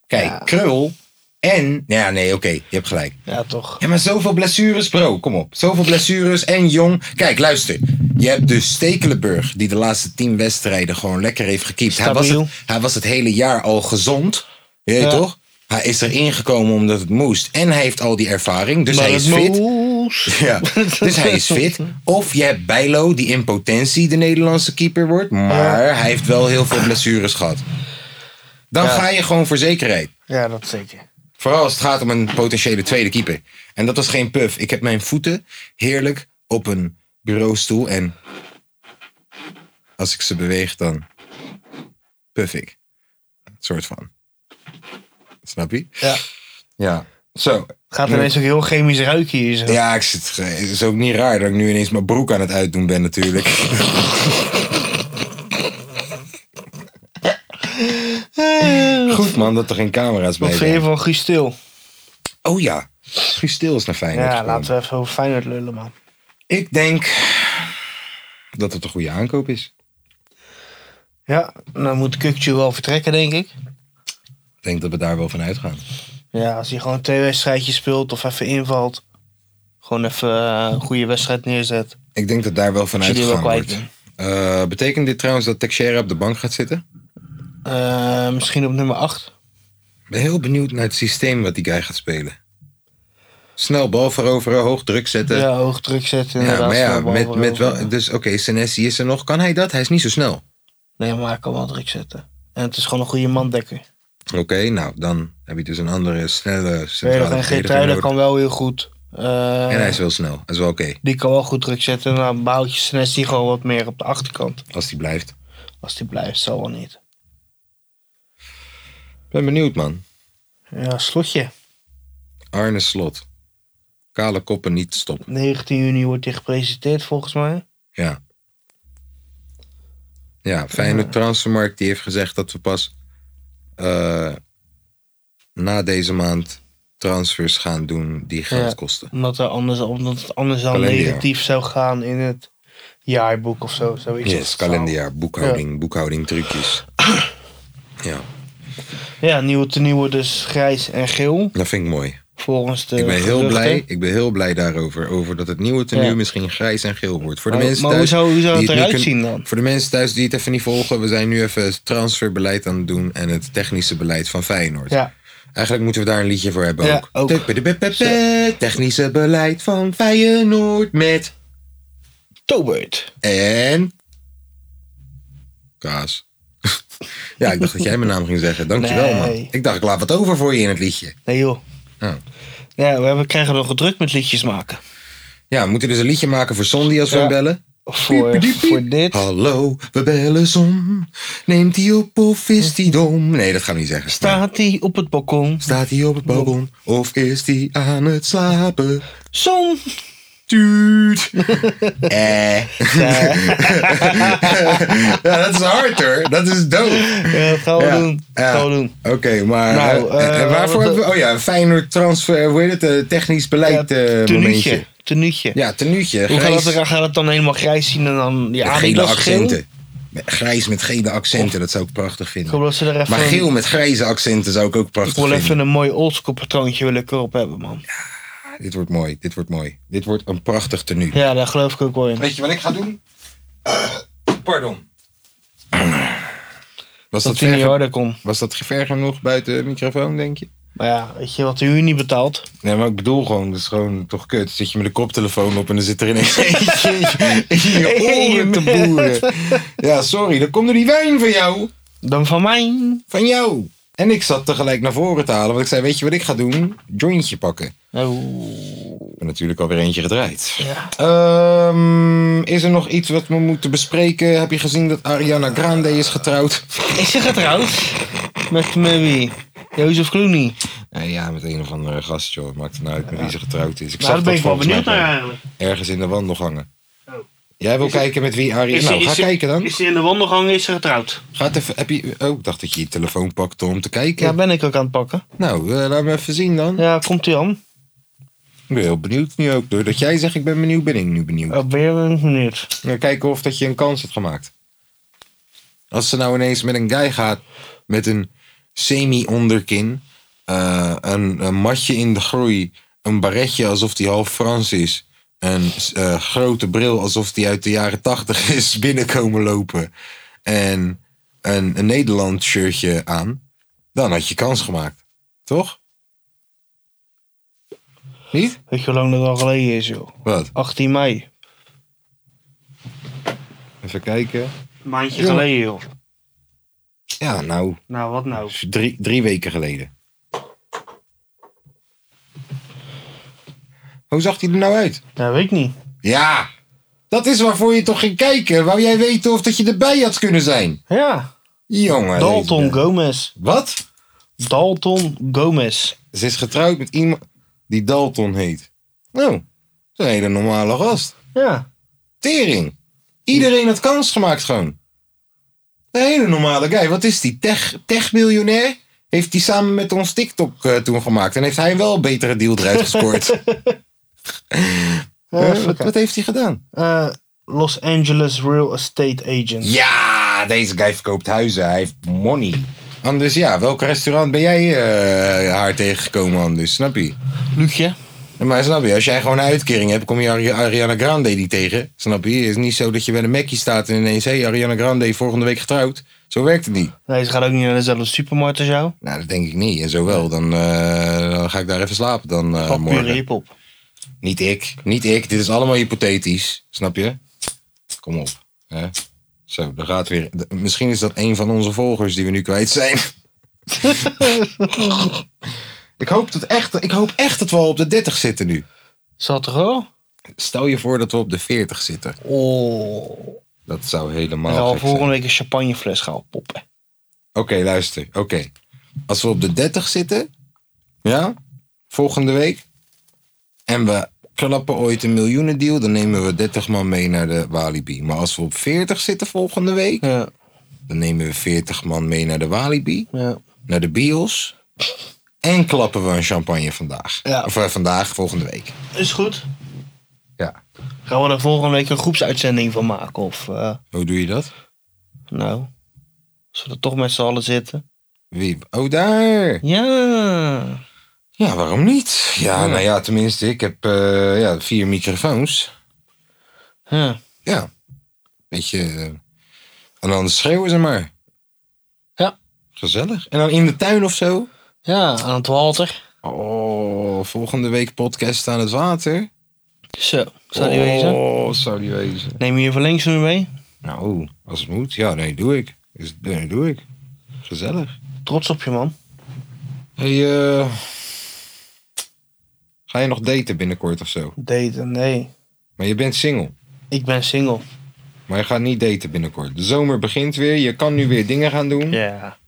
Kijk, Ja. krul en. Ja, nee, oké, je hebt gelijk. Ja, toch. Ja, maar zoveel blessures, bro, kom op. Zoveel blessures en jong. Kijk, luister. Je hebt dus Stekelenburg, die de laatste tien wedstrijden gewoon lekker heeft gekiept. Hij was, het, Stabiel. hij was het hele jaar al gezond. Je weet Ja. toch? Hij is erin gekomen omdat het moest. En hij heeft al die ervaring, dus Maar hij het is fit. moest. <laughs> Ja, dus hij is fit. Of je hebt Bijlo, die in potentie de Nederlandse keeper wordt. Maar hij heeft wel heel veel blessures gehad. Dan ga je gewoon voor zekerheid. <laughs> Ja, dat zeker. Vooral als het gaat om een potentiële tweede keeper. En dat was geen puff. Ik heb mijn voeten heerlijk op een bureaustoel. En als ik ze beweeg, dan puff ik. Een soort van. Snap je? Ja. Ja. Zo. Gaat er ineens ook heel chemisch ruiken hier zo. Ja, ik zit, ge- het is ook niet raar dat ik nu ineens mijn broek aan het uitdoen ben natuurlijk. Goed man, dat er geen camera's Wat bij vind je zijn. van Guus Stil? Oh ja, Guus Stil is naar Feyenoord Ja, gekomen. laten we even over Feyenoord lullen, man. Ik denk dat het een goede aankoop is. Ja, dan moet Kukju wel vertrekken, denk ik. Ik denk dat we daar wel van uitgaan. Ja, als hij gewoon twee wedstrijdjes speelt of even invalt. Gewoon even eh, een goede wedstrijd neerzet. Ik denk dat daar wel van Als je die wel uitgegaan kwijt wordt. bent. Eh, betekent dit trouwens dat Texera op de bank gaat zitten? Eh, misschien op nummer 8. Ik ben heel benieuwd naar het systeem wat die guy gaat spelen. Snel bal veroveren, hoog druk zetten. Ja, hoog druk zetten. Ja, inderdaad, maar ja, snel bal met, met veroveren. wel, dus oké, Senesi is er nog. Kan hij dat? Hij is niet zo snel. Nee, maar hij kan wel druk zetten. En het is gewoon een goede mandekker. Oké, nou, dan heb je dus een andere snelle Verder centrale en verdediger Geertruiden nodig. kan wel heel goed. Eh, en hij is wel snel. Hij is wel oké. Die kan wel goed druk zetten. Nou, Boutje snest die gewoon wat meer op de achterkant. Als die blijft. Als die blijft, zal wel niet. Ik ben benieuwd, man. Ja, slotje. Arne Slot. Kale koppen niet te stoppen. 19 juni wordt hij gepresenteerd volgens mij. Ja. Ja, Feyenoord Transfermarkt die heeft gezegd dat we pas eh, na deze maand transfers gaan doen die geld Ja, kosten. Omdat, er anders, omdat het anders dan Kalenderjaar. negatief zou gaan in het jaarboek of zo. Zoiets Yes, kalenderjaar, boekhouding, boekhouding trucjes. ja, Ja, nieuwe tenuwen dus grijs en geel. dat vind ik mooi. Volgens de ik, ben heel geruchten. blij, ik ben heel blij daarover. Over dat het nieuwe tenue Ja. misschien grijs en geel wordt. Voor de Maar- mensen maar hoe thuis zou- hoe zou die het niet eruit kunnen- zien dan? Voor de mensen thuis die het even niet volgen. We zijn nu even het transferbeleid aan het doen. En het technische beleid van Feyenoord. Ja. Eigenlijk moeten we daar een liedje voor hebben Ja, ook. ook. Tup-tup-tup-tup, Technische beleid van Feyenoord met... Tobert. En... Kaas. <laughs> ja, ik dacht dat jij mijn naam ging zeggen. Dankjewel man. Nee. Ik dacht ik laat wat over voor je in het liedje. Nee joh. Ja. Ja, we hebben, krijgen nog gedrukt met liedjes maken. Ja, we moeten dus een liedje maken voor Sondi als we Ja. hem bellen. Voor, Piep, Oh. piep, piep. voor dit. Hallo, we bellen som. Neemt hij op of is hij dom? Nee, dat gaan we niet zeggen. Nee. Staat hij op het balkon? Staat hij op het balkon of is hij aan het slapen? Zon! <laughs> Tuut. <laughs> eh. ja, dat is hard hoor. Dat is dood. Ja, dat gaan we Ja, doen. Dat ja. gaan we doen. Oké, maar Nou, eh, en eh, waarvoor wat- hebben we... Oh ja, een Feyenoord transfer, hoe heet het? eh, technisch beleid eh, momentje. tenuutje. Tenuutje. Ja, tenuutje. Hoe grijs. gaat dat, gaat dat dan helemaal grijs zien en dan... Ja, Met gele Adidas geel? accenten. Met- Grijs met gele accenten, dat zou ik prachtig Oh. Ik vinden. hoop dat ze er even... Maar geel met grijze accenten zou ik ook ik prachtig wil vinden. even een mooi oldschool patroontje wil ik erop hebben, man. Dit wordt mooi, dit wordt mooi. Dit wordt een prachtig tenue. Ja, daar geloof ik ook wel in. Weet je wat ik ga doen? Pardon. Was dat, Dat hij niet ver, harder komt. was dat ver genoeg buiten de microfoon, denk je? Maar ja, weet je wat de huur niet betaalt? Nee, maar ik bedoel gewoon, dat is gewoon toch kut. Zit je met een koptelefoon op en dan zit er ineens <laughs> eentje <laughs> in je oren te boeren. Ja, sorry, dan komt er die wijn van jou. Dan van mij. Van jou. En ik zat tegelijk naar voren te halen, want ik zei, weet je wat ik ga doen? Jointje pakken. Oh, Ik ben natuurlijk alweer eentje gedraaid. ja. Ehm, is er nog iets wat we moeten bespreken? Heb je gezien dat Ariana Grande is getrouwd? Is ze getrouwd? Met, met wie? Jozef Clooney. Eh, ja, met een of andere gast, joh. Maakt het nou uit met wie ze getrouwd is. Ik Nou, daar ben ik wel volgens benieuwd mij naar eigenlijk. bij- Ergens in de wandelgangen. Oh. Jij wil kijken met wie Ariana... Nou, ga kijken dan. Is ze in de wandelgang is ze getrouwd? Ga het even... Heb je... Oh, ik dacht dat je je telefoon pakte om te kijken. Ja, ben ik ook aan het pakken. Nou, eh, laat me even zien dan. Ja, komt ie aan. Ik ben heel benieuwd nu ook. Doordat jij zegt ik ben benieuwd, ben ik nu benieuwd. Oh, ben je wel benieuwd? Nou, kijken of dat je een kans hebt gemaakt. Als ze nou ineens met een guy gaat met een semi-onderkin, eh, een, een matje in de groei, een baretje alsof die half Frans is, een eh, grote bril alsof die uit de jaren tachtig <laughs> is binnenkomen lopen en een, een Nederland shirtje aan, dan had je kans gemaakt. Toch? Niet? Weet je hoe lang dat al geleden is, joh? Wat? 18 mei. Even kijken. Maandje Ja. geleden, joh. Ja, nou, Nou, wat nou? drie, drie weken geleden. Hoe zag hij er nou uit? Ja, weet ik niet. Ja, dat is waarvoor je toch ging kijken. Wou jij weten of dat je erbij had kunnen zijn? Ja. Jongen. Dalton deze- Gomez. Wat? Dalton Gomez. Ze is getrouwd met iemand die Dalton heet. Nou, dat is een hele normale gast. Ja. Tering. Iedereen had kans gemaakt gewoon. Een hele normale guy. Wat is die? Tech, techmiljonair? Heeft die samen met ons TikTok eh, toen gemaakt. En heeft hij wel een betere deal eruit gescoord. <laughs> Eh, Eh, even wat, kijken. wat heeft hij gedaan? Eh, Los Angeles Real Estate Agent. Ja, deze guy verkoopt huizen. Hij heeft money. Anders ja, welk restaurant ben jij eh, haar tegengekomen anders? Snap je? Luutje. Ja, Maar snap je, als jij gewoon een uitkering hebt, kom je Ari- Ariana Grande niet tegen. Snap je? Het is niet zo dat je bij de Mackie staat en ineens... Hé, hey, Ariana Grande, volgende week getrouwd. Zo werkt het niet. Nee, ze gaat ook niet naar dezelfde supermarkt als jou. Nou, dat denk ik niet. En zo wel, dan, eh, dan ga ik daar even slapen dan eh, Pak pure morgen. hiphop. Niet ik, niet ik. Dit is allemaal hypothetisch, snap je? Kom op. Hè? Zo, daar gaat weer. d- Misschien is dat een van onze volgers die we nu kwijt zijn. <laughs> ik, hoop dat echt, ik hoop echt dat we al op de 30 zitten nu. Zat er al? Stel je voor dat we op de 40 zitten. Oh. Dat zou En dan helemaal al Oh, gek zijn. volgende week een champagnefles gaan poppen. Oké, luister. Oké. Als we op de 30 zitten, ja, volgende week, en we klappen ooit een miljoenendeal, dan nemen we 30 man mee naar de Walibi. Maar als we op 40 zitten volgende week, dan nemen we 40 man mee naar de Walibi, Ja. naar de Bios, en klappen we een champagne vandaag. Ja. Of eh, vandaag, volgende week. Is goed. Ja. Gaan we er volgende week een groepsuitzending van maken? Of, eh, Hoe doe je dat? nou, als we er toch met z'n allen zitten. Wie? Oh, daar! Ja. Ja, waarom niet? Ja, nou ja, tenminste, ik heb eh, ja, vier microfoons. Ja. Ja. Beetje. eh, en dan schreeuwen ze maar. Ja. Gezellig. En dan in de tuin of zo. Ja, aan het Walter. Oh, volgende week podcast aan het water. Zo, zou die wezen? Oh, zou die wezen. Neem je even links nu mee? Nou, als het moet. Ja, nee, doe ik. Is, nee, doe ik. Gezellig. Trots op je man. Hey, eh, ga je nog daten binnenkort of zo? Daten, nee. Maar je bent single. Ik ben single. Maar je gaat niet daten binnenkort. De zomer begint weer. Je kan nu weer dingen gaan doen. Ja.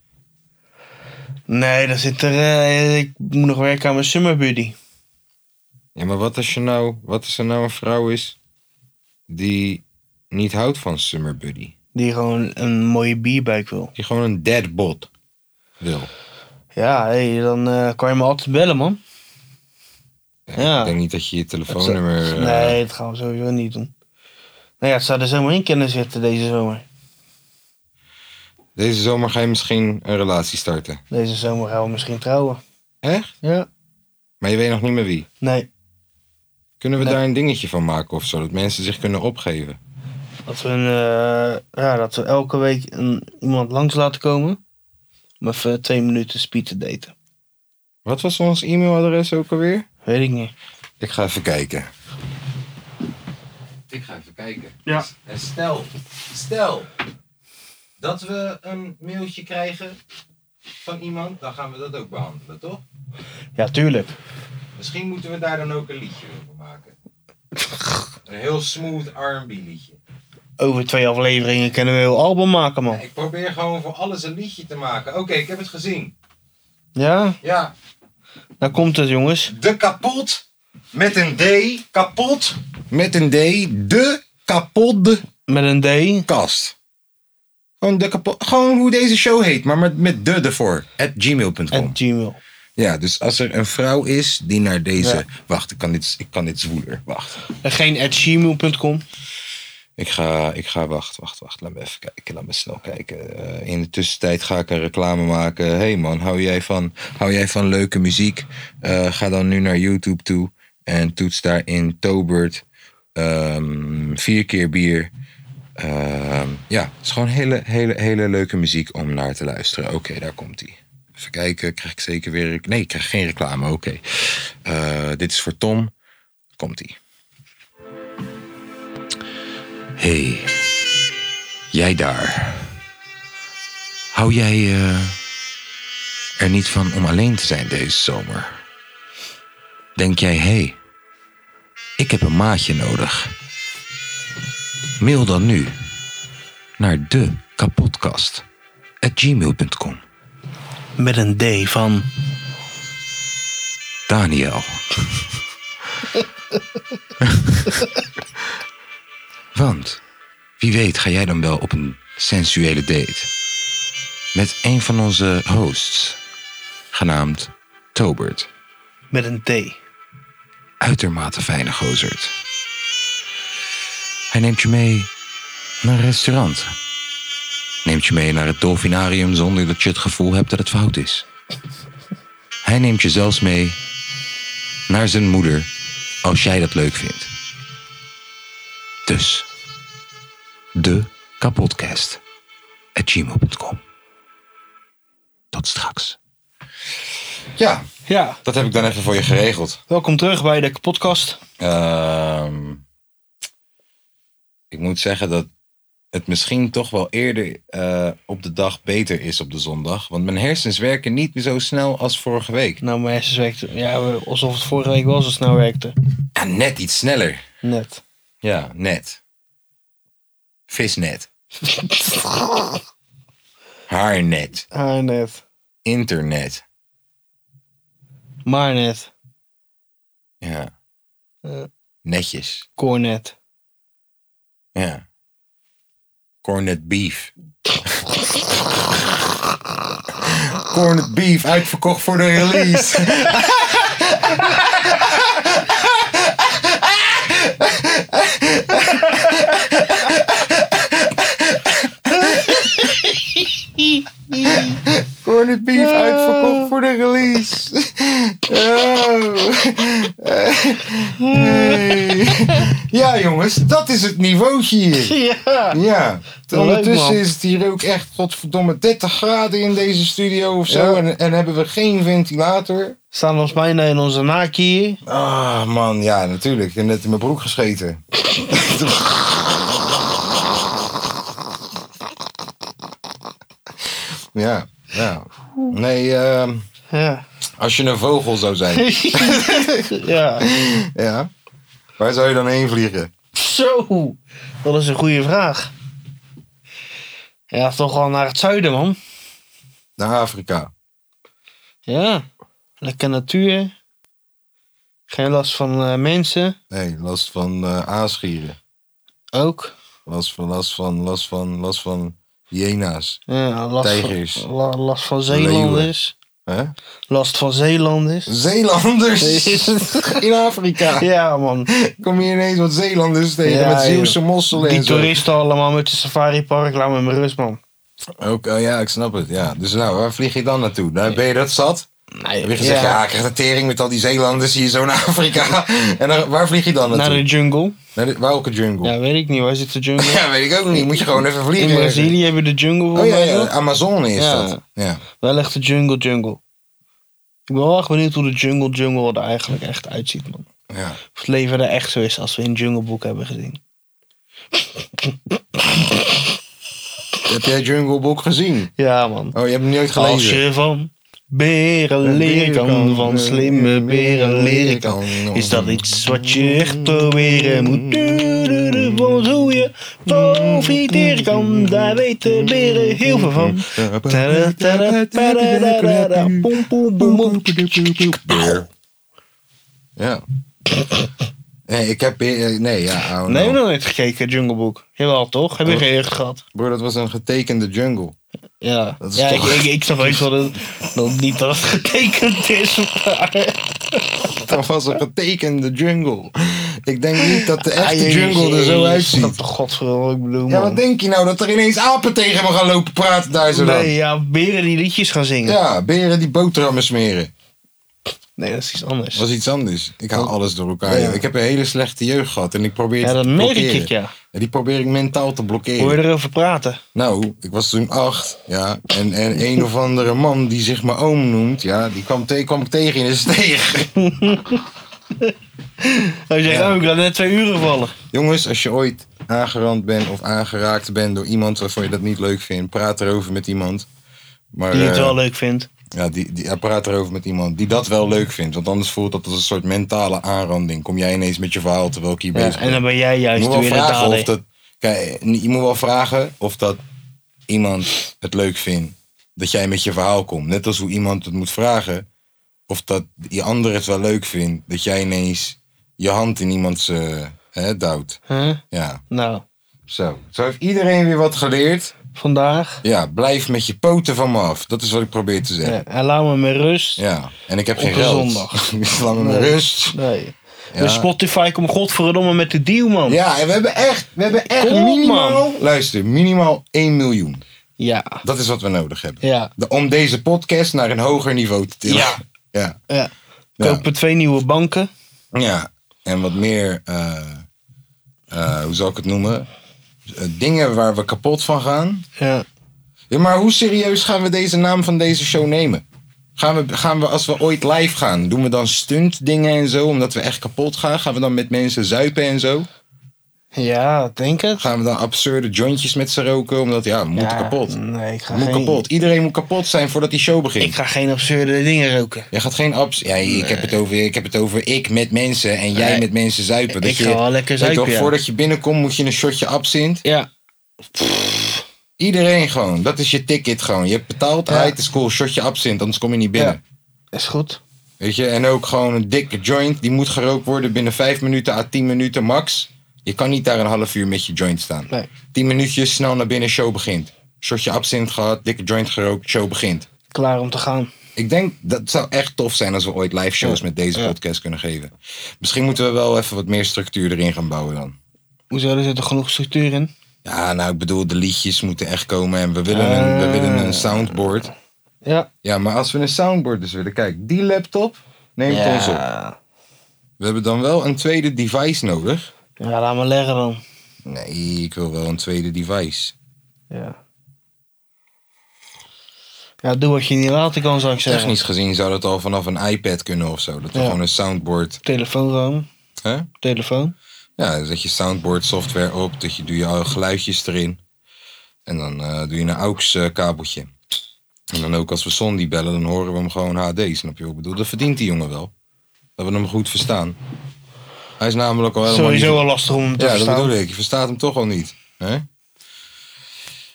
Nee, daar zit er. eh, ik moet nog werken aan mijn summer buddy. Ja, maar wat als je nou, wat als er nou een vrouw is die niet houdt van Summer Buddy? Die gewoon een mooie bierbuik wil. Die gewoon een deadbot wil. Ja, hey, dan eh, kan je me altijd bellen, man. Ja, Ja. Ik denk niet dat je je telefoonnummer. eh, Nee, dat gaan we sowieso niet doen. Nou ja, het zou er zomaar in kunnen zitten deze zomer. Deze zomer ga je misschien een relatie starten. Deze zomer gaan we misschien trouwen. Echt? Ja. Maar je weet nog niet meer wie. Nee, Kunnen we Nee. daar een dingetje van maken of zo? Dat mensen zich kunnen opgeven. dat we, een, eh, ja, dat we elke week een, iemand langs laten komen. Om even twee minuten speed te daten. Wat was ons e-mailadres ook alweer? Weet ik niet. Ik ga even kijken. Ik ga even kijken. Ja. En stel, stel dat we een mailtje krijgen van iemand, dan gaan we dat ook behandelen, toch? Ja, tuurlijk. Misschien moeten we daar dan ook een liedje over maken. Een heel smooth R&B liedje. Over twee afleveringen kunnen we een heel album maken, man. Ik probeer gewoon voor alles een liedje te maken. Oké, ik heb het gezien. Ja, Ja, daar komt het, jongens. de kapot met een D. Kapot met een D. De kapot Met een D. kast. Gewoon, de kapo- gewoon hoe deze show heet, maar met, met de ervoor. At At Oh. gmail.com. Gmail. Ja, dus als er een vrouw is die naar deze. Ja. Wacht, ik kan, dit, ik kan dit zwoeler. Wacht. En geen at gmail.com. Ik ga, ik ga, wacht, wacht, wacht. Laat me even kijken. Laat me snel kijken. Eh, in de tussentijd ga ik een reclame maken. Hé hey man, hou jij van, hou jij van leuke muziek? Eh, ga dan nu naar YouTube toe en toets daarin Tobert. ehm, vier keer bier. Ehm, ja, het is gewoon hele, hele, hele leuke muziek om naar te luisteren. Oké, daar komt ie. Even kijken, krijg ik zeker weer... rec- Nee, ik krijg geen reclame, oké. Eh, dit is voor Tom. Komt ie. Hey, jij daar. Hou jij eh, er niet van om alleen te zijn deze zomer? Denk jij, hé, hey, ik heb een maatje nodig. Mail dan nu naar de kapotkast gmail.com. Met een D van. Daniel. Want wie weet ga jij dan wel op een sensuele date met een van onze hosts, genaamd Tobert. Met een D. Uitermate fijne gozerd. Hij neemt je mee naar een restaurant. Neemt je mee naar het dolfinarium zonder dat je het gevoel hebt dat het fout is. Hij neemt je zelfs mee naar zijn moeder als jij dat leuk vindt. Dus de kapotcast at gmail.com. Tot straks. Ja, Ja, dat heb ik dan even voor je geregeld. welkom terug bij de podcast. Ehm, ik moet zeggen dat het misschien toch wel eerder eh, op de dag beter is op de zondag. Want mijn hersens werken niet meer zo snel als vorige week. Nou, mijn hersens werkten. Ja, alsof het vorige week wel zo snel werkte. Ja, Ja, net iets sneller. Net. <laughs> Ja, net. Visnet. Haarnet. Ah, Haarnet. Internet. Maar net. Ja. Eh, Netjes. Cornet. Ja. Cornet beef. Cornet beef, uitverkocht voor de release. Cornet beef, uitverkocht voor de release. Oh. Nee. Oh. Ja, jongens, dat is het niveautje hier. Ja. <laughs> Ja, Leuk, ondertussen man. is het hier ook echt godverdomme 30 graden in deze studio of zo. Ja. En, en hebben we geen ventilator. Staan ons bijna in onze naak hier. Ah man, ja natuurlijk. Ik heb net in mijn broek gescheten. <laughs> ja, ja. Nee, ehm, <laughs> Ja. als je een vogel zou zijn. ja. <laughs> ja. Waar zou je dan heen vliegen? Zo. Dat is een goede vraag. Ja, toch wel naar het zuiden, man. Naar Afrika. Ja. Lekker natuur. Geen last van eh, mensen. Nee, last van eh aanschieren. Ook. Last van, last van, last van, last van hyena's. Ja, last Tijgers. Van, la- last van Zeelanders. Hè? Last van Zeelanders. Zeelanders <laughs> in Afrika. Ja, man. <laughs> Kom je ineens wat Zeelanders tegen Ja, met joh. Zeeuwse mosselen Die en zo. toeristen allemaal met de safaripark, laat me in mijn rust, man. Ook, oh ja, ik snap het. Ja. Dus nou, waar vlieg je dan naartoe? Nou, ben je dat zat? Nee, Heb je gezegd, ja, ik krijg de tering met al die Zeelanders hier zo naar Afrika. <laughs> En dan, waar vlieg je dan Naar naartoe? de jungle. Naar de, welke jungle? <laughs> Ja. Ja, weet ik niet. Waar zit de <laughs> jungle? weet ik ook niet. Moet je gewoon even vliegen. In Brazilië hebben we de jungle. Oh volgens ja, mij ja, nog. Amazone is Ja. dat. Ja. Wel echt de jungle jungle. Ik ben wel echt benieuwd hoe de jungle jungle er eigenlijk echt uitziet, man. ja. Of het leven er echt zo is als we in Jungle Book hebben gezien. Heb jij Jungle Book gezien? Ja, man. Oh, je hebt hem nooit gelezen. Als je van beren leren kan, van slimme beren leren kan. Is dat iets wat je echt proberen moet doen? Van hoe je profiteren kan, daar weten beren heel veel van. Tada, tada, tada, tada, tada, pom, pom, pom, pom. Ja. Nee, ik heb... eh, Nee, ja, oh, Nee, no. we hebben nog nooit gekeken, Jungle Book. Jawel, toch? Heb je geen jeugd gehad? Broer, dat was een getekende jungle. Ja, Dat is ja ik, toch- ik, ik snap heus wel dat, dat niet dat het getekend is. maar- Dat was een getekende jungle. Ik denk niet dat de echte Ah, jungle er zo jezus, uitziet. Dat de godverdomme, ik bedoel. Ja, man. wat denk je nou? Dat er ineens apen tegen me gaan lopen praten daar zo dan? Nee, ja, beren die liedjes gaan zingen. Ja, beren die boterhammen smeren. Nee, dat is iets anders. Dat was iets anders. Ik haal alles door elkaar. Oh. Ja. Ik heb een hele slechte jeugd gehad en ik probeer Ja, het dat te merk blokkeren. ik, ja. En die probeer ik mentaal te blokkeren. Hoor je erover praten? Nou, ik was toen acht, ja. En, en een of andere man die zich mijn oom noemt, ja, die kwam, te kwam ik tegen in de steeg. <laughs> Hij zegt, oh, ik laat net twee uren vallen. Jongens, als je ooit aangerand bent of aangeraakt bent door iemand waarvan je dat niet leuk vindt, praat erover met iemand. Maar, Die je het eh, wel leuk vindt. Ja, die, die, ja, praat erover met iemand die dat wel leuk vindt. Want anders voelt dat als een soort mentale aanranding. Kom jij ineens met je verhaal terwijl ik hier bezig ben. En dan ben jij Je juist moet wel weer de vragen of dader. dat. Kijk, je moet wel vragen of dat iemand het leuk vindt dat jij met je verhaal komt. Net als hoe iemand het moet vragen of dat die ander het wel leuk vindt dat jij ineens je hand in iemands eh, hè, duwt. Huh? Ja, Nou, zo. Zo heeft iedereen weer wat geleerd. vandaag. Ja, blijf met je poten van me af. Dat is wat ik probeer te zeggen. Ja, en laat me met rust. Ja, en <laughs> ik heb geen een geld. zondag. Dus laat me met Nee. rust. Nee. Ja. Dus Spotify, kom godverdomme met de deal, man. Ja, en we hebben echt, we hebben echt Kom op, minimaal... Luister, minimaal 1 miljoen. Ja. Dat is wat we nodig hebben. Ja. De- om deze podcast naar een hoger niveau te tillen. Ja. Ja. ja. Ja. Kopen twee nieuwe banken. Ja. En wat meer, eh, eh, hoe zal ik het noemen? Eh, dingen waar we kapot van gaan. Ja. Ja, maar hoe serieus gaan we deze naam van deze show nemen? Gaan we, gaan we, als we ooit live gaan, doen we dan stunt dingen en zo, omdat we echt kapot gaan? Gaan we dan met mensen zuipen en zo? Ja, denk het. Gaan we dan absurde jointjes met ze roken? Omdat ja, moet Ja, kapot. Nee, ik ga moet geen- kapot. Iedereen moet kapot zijn voordat die show begint. Ik ga geen absurde dingen roken. Jij gaat geen abs. Ja, ik, heb het over, ik heb het over ik met mensen en jij Nee. met mensen zuipen. Ik ga wel lekker weet zuipen, toch, ja. Voordat je binnenkomt moet je een shotje absint. Ja. Iedereen gewoon. Dat is je ticket gewoon. Je hebt betaald, Ja. uit de school, shotje absint, anders kom je niet binnen. Is goed. Weet je, en ook gewoon een dikke joint. Die moet gerookt worden binnen 5 minuten à 10 minuten max. Je kan niet daar een half uur met je joint staan. Nee. 10 minuutjes, snel naar binnen, show begint. Shotje absint gehad, dikke joint gerookt, show begint. Klaar om te gaan. Ik denk dat zou echt tof zijn als we ooit live shows met deze podcast kunnen geven. Misschien moeten we wel even wat meer structuur erin gaan bouwen dan. Hoezo, er zit er genoeg structuur in? Ja, nou, ik bedoel, de liedjes moeten echt komen en we willen een, we willen een soundboard. Eh. Ja. Ja, maar als we een soundboard dus willen, kijk, die laptop neemt ja. ons op. We hebben dan wel een tweede device nodig. Ja, laat maar leggen dan. Nee, ik wil wel een tweede device. Ja. Ja, doe wat je niet laten kan, zou ik zeggen. Technisch gezien zou dat al vanaf een iPad kunnen of zo. Dat we Ja. gewoon een soundboard. Telefoon gewoon. Hè? Telefoon. Ja, dan zet je soundboard software op, dat je, doe je al geluidjes erin. En dan eh, doe je een AUX eh, kabeltje. En dan ook als we Sondi bellen, dan horen we hem gewoon HD, snap je wat ik bedoel? Dat verdient die jongen wel. Dat we hem goed verstaan. Hij is namelijk al helemaal niet- Sowieso wel lastig om hem te Ja, verstaan. dat bedoel ik. Je verstaat hem toch al niet. Hè?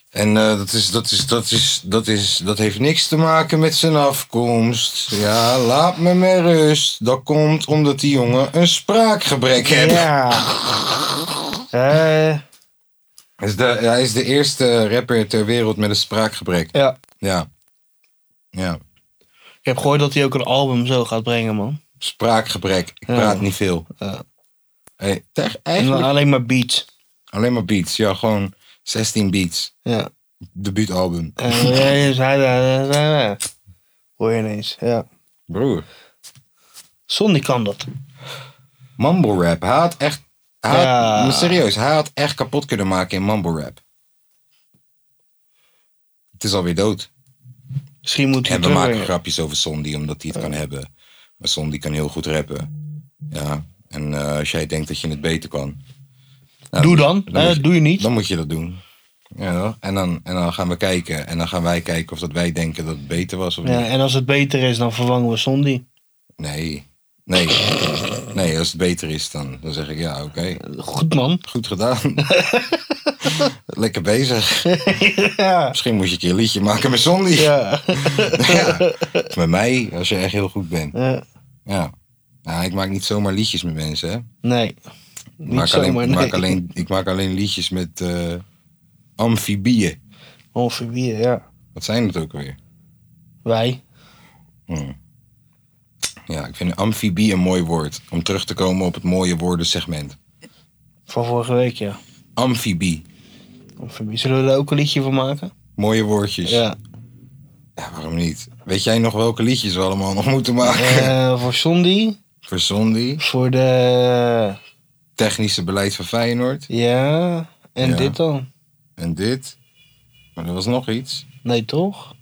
En eh, dat, is, dat, is, dat, is, dat, is, dat heeft niks te maken met zijn afkomst. Ja, laat me met rust. Dat komt omdat die jongen een spraakgebrek heeft. Ja. <laughs> Eh, Hij is de, hij is de eerste rapper ter wereld met een spraakgebrek. ja. Ja. Ja. Ik heb gehoord dat hij ook een album zo gaat brengen, man. Spraakgebrek. Ik Ja. praat niet veel. Ja. Nou, Hey, teg- En eigenlijk dan alleen maar beats. alleen maar beats. Ja, gewoon 16 beats. nou. Ja. Debuutalbum. En Eh, ja, ja, ja, ja, ja, ja. Hoor je ineens. Ja. Broer. Sonny kan dat. Mumble rap. Hij had echt. Hij had- Ja. maar serieus, hij had echt kapot kunnen maken in mumble rap. Het is alweer dood. Misschien moet hij En het we maken terugbrengen. grapjes over Sondi, omdat hij het kan hebben. Maar Sondi kan heel goed rappen. Ja. En eh, als jij denkt dat je het beter kan. nou, Doe dan. moet Eh, je- doe je niet. Dan moet je dat doen. Ja, en, dan, en dan gaan we kijken. En dan gaan wij kijken of dat wij denken dat het beter was of Ja, niet. en als het beter is, dan vervangen we Sonny. Nee. Nee. Nee, als het beter is, dan, dan zeg ik ja, oké. Goed, man. Goed <laughs> gedaan. Lekker bezig. ja. Misschien moet je een keer een liedje maken met Sondi. Ja. <laughs> Ja. Of Met mij, als je echt heel goed bent. Ja. Ja. Nou, ik maak niet zomaar liedjes met mensen, hè. Ik Nee. Niet maak, alleen, zomaar, ik, maak nee. alleen, ik maak alleen liedjes met eh, amfibieën. Amfibieën, ja. Wat zijn dat ook alweer? Wij. Ja, ik vind amfibie een mooi woord. Om terug te komen op het mooie woordensegment. Van vorige week, ja. Amfibie. Amfibie. Zullen we daar ook een liedje van maken? Mooie woordjes. Ja. Ja. waarom niet? Weet jij nog welke liedjes we allemaal nog moeten maken? Eh, voor Sondi. Voor Sondi. Voor de... Technische beleid van Feyenoord. Ja. En Ja. dit dan? En dit. Maar er was nog iets. Nee, toch?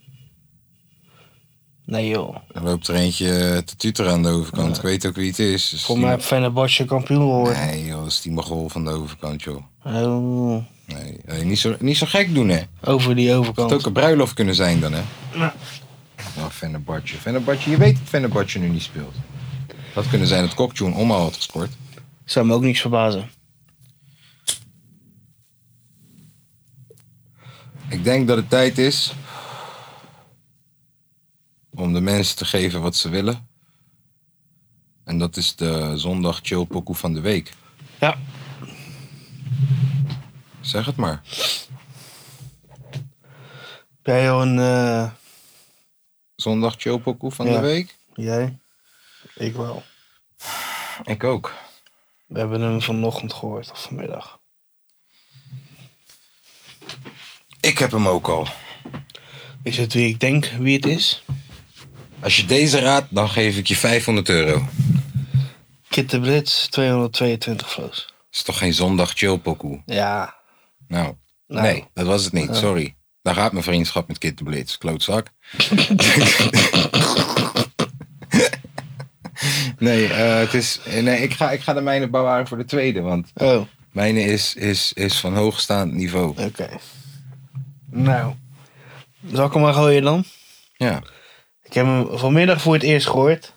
Nee, joh. Er loopt er eentje eh, te tuteren aan de overkant. Ik weet ook wie het is. Dus Voor die- mij heb Fenerbahce kampioen geworden. Nee joh, dat is die mogol van de overkant joh. Oh, Nee, hey, niet, zo, niet zo gek doen hè. over die Het overkant. had ook een bruiloft kunnen zijn dan hè. Nou, Fenerbahce. Fenerbahce, je weet dat Fenerbahce nu niet speelt. Dat kunnen zijn dat Kokjoen Omar had gescoord. Zou me ook niks verbazen. Ik denk dat het tijd is om de mensen te geven wat ze willen. En dat is de zondag chill pokoe van de week. Ja. Zeg het maar. Heb jij al een... eh, Zondag chill pokoe van de Ja. week? jij? Ik wel. Ik ook. We hebben hem vanochtend gehoord, of vanmiddag. Ik heb hem ook al. Is het wie ik denk wie het is? Als je deze raadt, dan geef ik je 500 euro. Kit de Brits, 222 flows. Is toch geen zondag chill pokoe? Ja. Nou, Nou. nee, dat was het niet. Sorry. Daar gaat mijn vriendschap met Kid de Blitz. <laughs> Klootzak. eh, nee, eh, het is, nee ik, ga, ik ga de mijne bouwen voor de tweede. Want Oh. Mijne is, is, is van hoogstaand niveau. Oké. Nou, zal ik hem maar gooien dan? Ja. Ik heb hem vanmiddag voor het eerst gehoord.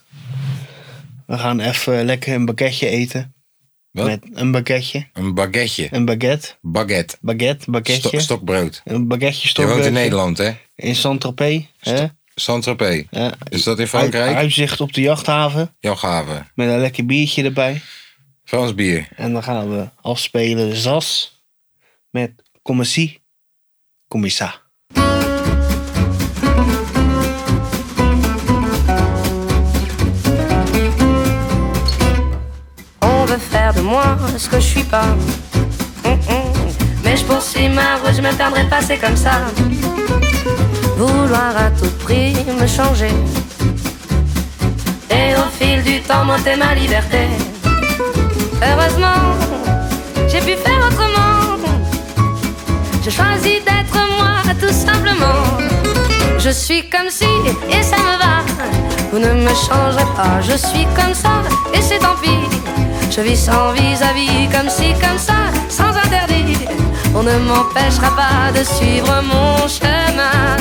We gaan even lekker een baguetje eten. Wat? Met een baguetje. Een baguetje. Een baguette. Baguette. Baguette, baguetje. Sto- stokbrood. Een baguetje Je stokbroodje. woont in Nederland, hè? In Saint-Tropez. hè? Saint-Tropez. Ja. Is dat in Frankrijk? Uit- uitzicht op de jachthaven. Jachthaven. Met een lekker biertje erbij. Frans bier. En dan gaan we afspelen Zas. Met Commissie. Commissa. On veut faire de moi ce que je suis pas. Hum, hum. Mais je poursuis ma route, je me perdrai pas, c'est comme ça. Vouloir à tout prix me changer. Et au fil du temps, monter ma liberté. Heureusement, j'ai pu faire autrement. Je choisis d'être moi, tout simplement. Je suis comme si, et ça me va. Vous ne me changerez pas, je suis comme ça, et c'est tant pis. Je vis sans vis-à-vis, comme si, comme ça, sans interdit. On ne m'empêchera pas de suivre mon chemin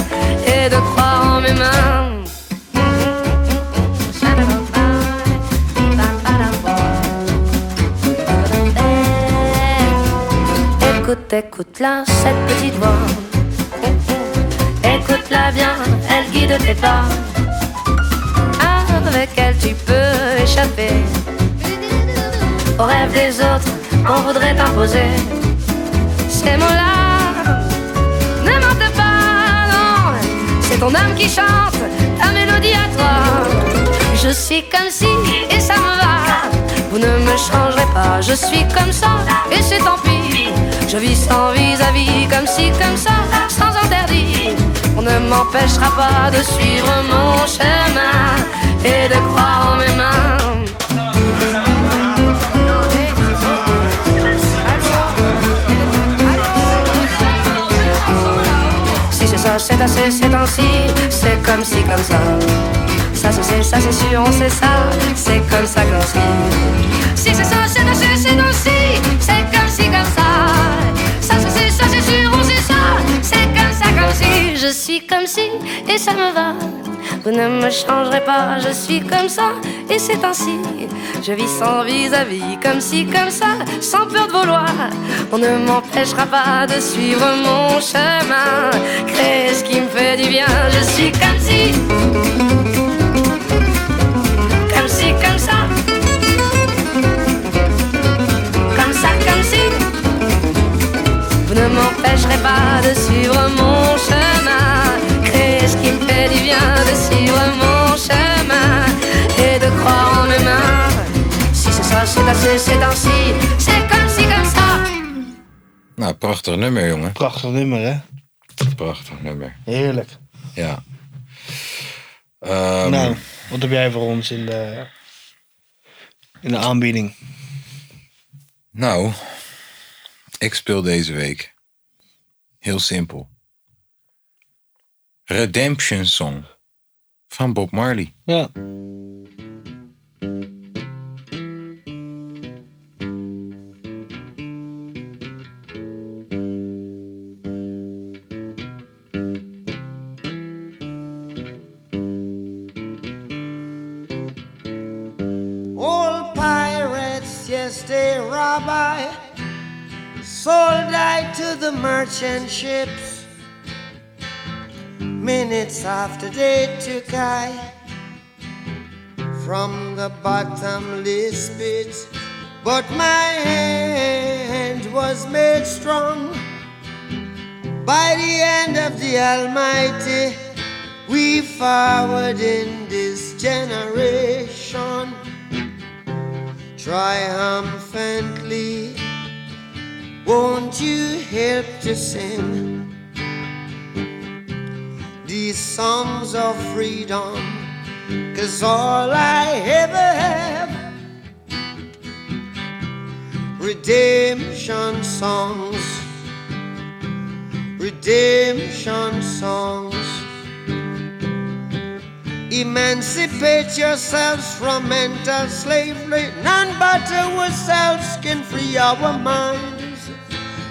et de croire en mes mains. Écoute, écoute-la, cette petite voix. Écoute-la bien, elle guide tes pas. Avec elle, tu peux échapper aux rêves des autres qu'on voudrait t'imposer. Ces mots-là ne mentent pas, non. C'est ton âme qui chante ta mélodie à toi. Je suis comme si et ça me va. Vous ne me changerez pas, je suis comme ça et c'est tant pis. Je vis sans vis-à-vis, comme si, comme ça, sans interdit. On ne m'empêchera pas de suivre mon chemin et de croire en mes mains. Si c'est ça, c'est assez, c'est ainsi, c'est comme si, comme ça. Ça se sait, ça c'est sûr, on sait ça, c'est comme ça que l'on se lit. Si c'est ça, c'est assez, c'est ainsi, c'est comme si, comme ça. Ça se sait, ça c'est sûr, on sait ça, c'est comme ça, comme si. Je suis comme si, et ça me va. Vous ne me changerez pas, je suis comme ça, et c'est ainsi. Je vis sans vis-à-vis, comme si, comme ça, sans peur de vouloir. On ne m'empêchera pas de suivre mon chemin, créer ce qui me fait du bien. Je suis comme si, comme si, comme ça, comme ça, comme si. Vous ne m'empêcherez pas de suivre mon chemin, créer ce qui me fait du bien, de suivre mon chemin et de croire en mes mains. Si c'est ça, c'est assez, c'est ainsi, c'est comme si, comme ça. Nou, prachtig nummer, jongen. Prachtig nummer, hè? Prachtig nummer. Heerlijk. Ja. Ehm, nou, wat heb jij voor ons in de, in de aanbieding? nou, ik speel deze week. Heel simpel. Redemption Song. Van Bob Marley. Ja. Old pirates, yes, they rob I. Sold I to the merchant ships. Minutes after they took I from the bottomless pit. But my hand was made strong by the hand of the Almighty. We forward in this generation triumphantly. Won't you help to sing these songs of freedom? Cause all I ever have, redemption songs, redemption songs. Emancipate yourselves from mental slavery. None but ourselves can. can free our minds.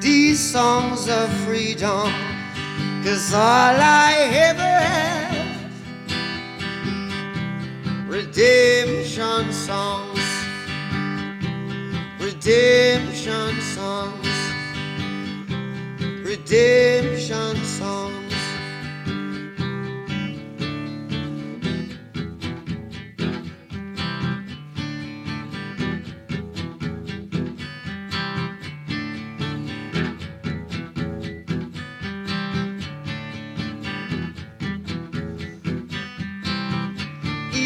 these songs of freedom? Cause all I ever have, redemption songs, redemption songs, redemption songs.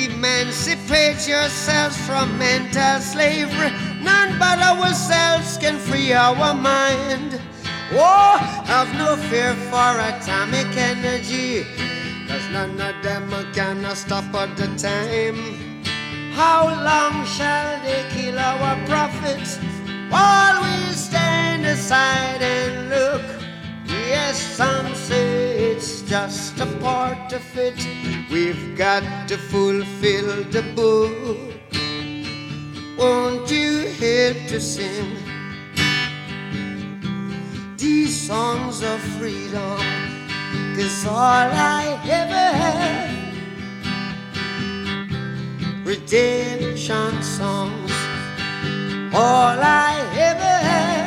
Emancipate yourselves from mental slavery. None but ourselves can free our mind. Oh, have no fear for atomic energy. Cause none of them can stop at the time. How long shall they kill our prophets while we stand aside and look? Yes, some say it's just a part of it. We've got to fulfill the book. Won't you help to sing these songs of freedom? Cause all I ever had, redemption songs. All I ever had,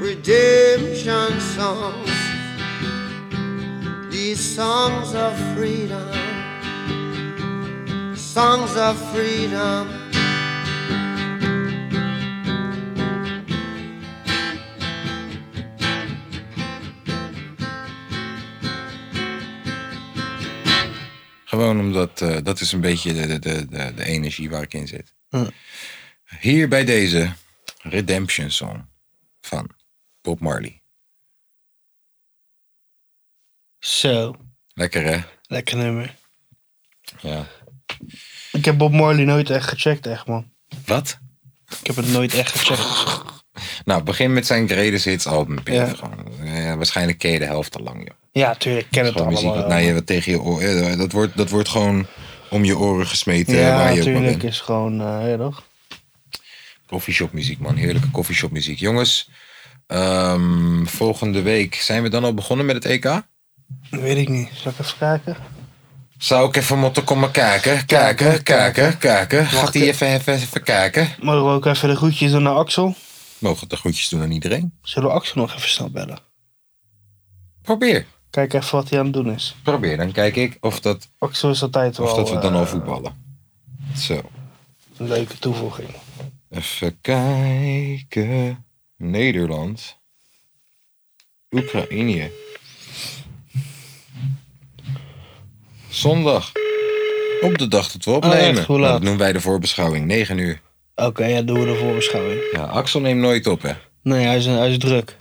redemption songs. These songs of freedom, songs of freedom. Gewoon omdat eh, dat is een beetje de, de, de, de, de energie waar ik in zit. Hier bij deze Redemption Song van Bob Marley. Zo, Lekker hè? lekker nummer. Ja. Ik heb Bob Marley nooit echt gecheckt, echt man. Wat? Ik heb het nooit echt gecheckt. Nou, begin met zijn greatest hits album. Peter. Ja. Gewoon, eh, waarschijnlijk ken je de helft al lang. Joh. Ja, tuurlijk, ik ken het Gewoon muziek allemaal. wat wel. naar je, wat tegen je oor, eh, dat, wordt, dat wordt gewoon om je oren gesmeten. eh, ja, waar je ook maar bent. natuurlijk is gewoon, eh, ja toch? Coffeeshop muziek, man. Heerlijke coffeeshop muziek. Jongens, ehm, volgende week zijn we dan al begonnen met het EK? Weet ik niet. Zal ik even kijken? Zou ik even moeten komen kijken? Kijken, kijken, kijken. Gaat hij even, even, even kijken? Mogen we ook even de groetjes doen naar Axel? Mogen de groetjes doen aan iedereen? Zullen we Axel nog even snel bellen? Probeer. Kijk even wat hij aan het doen is. Probeer, dan kijk ik of dat, Axel is altijd wel of dat we dan eh, al voetballen. Zo, een leuke toevoeging. even kijken. Nederland. Oekraïne. Zondag. Op de dag dat we opnemen. Oh, echt? Hoe Nou, laat? dat noemen wij de voorbeschouwing. 9 uur. Oké, ja, doen we de voorbeschouwing. Ja, Axel neemt nooit op, hè. Nee, hij is, hij is druk.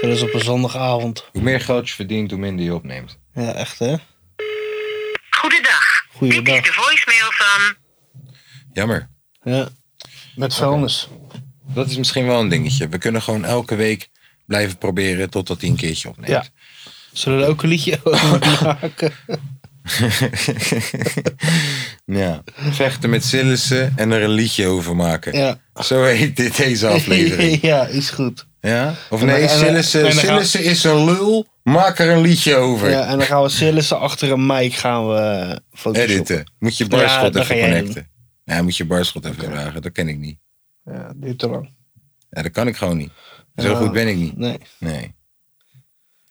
Zelfs op een zondagavond. Hoe meer geld je verdient, hoe minder je opneemt. Ja, echt hè? Goedendag. Goeiedag. De voicemail van. Jammer. Ja, met vuilnis. Dat is misschien wel een dingetje. We kunnen gewoon elke week blijven proberen totdat hij een keertje opneemt. Ja. Zullen we er ook een liedje over maken? <laughs> ja. Vechten met Sillissen en er een liedje over maken. Ja. Zo heet dit deze <laughs> aflevering. ja, is goed. Ja? Of En nee, dan- en dan- en Sillissen, dan gaan- Sillissen is een lul. Maak er een liedje over. Ja, en dan gaan we Sillissen achter een mic gaan we eh, photoshoppen. Editen. Moet je Ja, barschot dat even ga jij connecten. Nee, moet je barschot even vragen. Dat ken ik niet. Ja, duurt te lang. Ja, dat kan ik gewoon niet. Zo Ja, goed ben ik niet. Nee. Nee.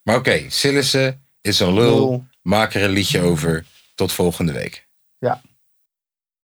Maar oké, Sillissen is een lul. Lul. Maak er een liedje over. Tot volgende week. Ja.